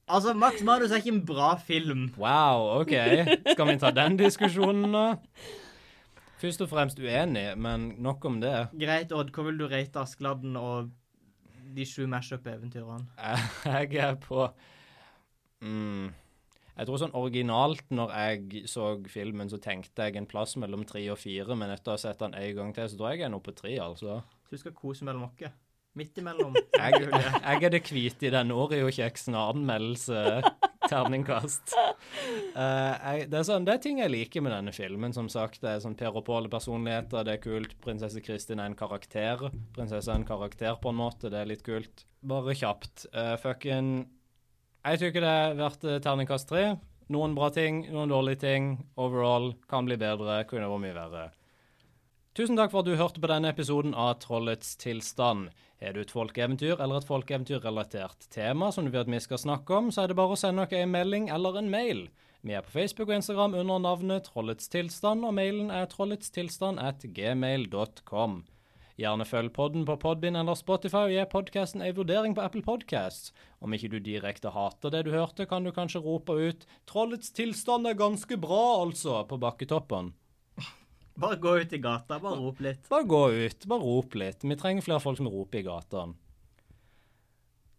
[SPEAKER 2] Altså, Max Manus er ikke en bra film.
[SPEAKER 3] Wow, OK. Skal vi ta den diskusjonen nå? Først og fremst uenig, men nok om det.
[SPEAKER 2] Greit, Odd, hva vil du rate Askeladden og de sju mashup-eventyrene?
[SPEAKER 3] Jeg er på mm, Jeg tror sånn originalt når jeg så filmen, så tenkte jeg en plass mellom tre og fire, men etter å ha sett den en gang til, så tror jeg jeg er nå på tre, altså.
[SPEAKER 2] Så du skal kose mellom oss. Midt imellom.
[SPEAKER 3] Jeg, jeg er det hvite i den Oreo-kjeksen og anmeldelse. Terningkast. Eh, jeg, det, er sånn, det er ting jeg liker med denne filmen. som sagt. Det er sånn Per og Pål-personligheter, det er kult. Prinsesse Kristin er en karakter. Prinsesse er en karakter, på en måte. Det er litt kult. Bare kjapt. Uh, fucking Jeg tykker det er verdt eh, terningkast tre. Noen bra ting, noen dårlige ting. Overall kan bli bedre. Kunne vært mye verre. Tusen takk for at du hørte på denne episoden av Trollets tilstand. Har du et folkeeventyr eller et folkeeventyrrelatert tema som du vil at vi skal snakke om, så er det bare å sende oss en melding eller en mail. Vi er på Facebook og Instagram under navnet Trollets tilstand, og mailen er trolletstilstand at gmail.com. Gjerne følg podden på Podbind eller Spotify og gi podkasten en vurdering på Apple Podcasts. Om ikke du direkte hater det du hørte, kan du kanskje rope ut 'Trollets tilstand er ganske bra', altså, på bakketoppen.
[SPEAKER 2] Bare gå ut i gata, bare rop litt.
[SPEAKER 3] Bare gå ut, bare rop litt. Vi trenger flere folk som roper i gatene.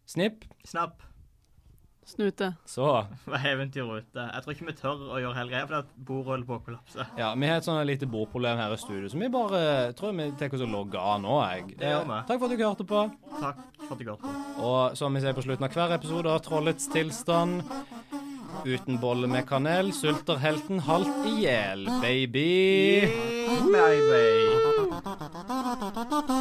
[SPEAKER 3] Snipp,
[SPEAKER 2] Snapp,
[SPEAKER 4] Snute.
[SPEAKER 3] så.
[SPEAKER 2] hva er eventyret ute? Jeg tror ikke vi tør å gjøre hele greia, for at bordet holder på å kollapse.
[SPEAKER 3] Ja, vi har et sånn lite bordproblem her i studio, så vi bare tror vi tar oss og logger av nå, jeg.
[SPEAKER 2] Det gjør vi.
[SPEAKER 3] Eh, Takk for at du hørte på.
[SPEAKER 2] Takk for at du hørte på.
[SPEAKER 3] Og som vi ser på slutten av hver episode av Trollets tilstand Uten bolle med kanel sulter helten halvt i hjel, baby.
[SPEAKER 2] Bye, bye.
[SPEAKER 1] Bye.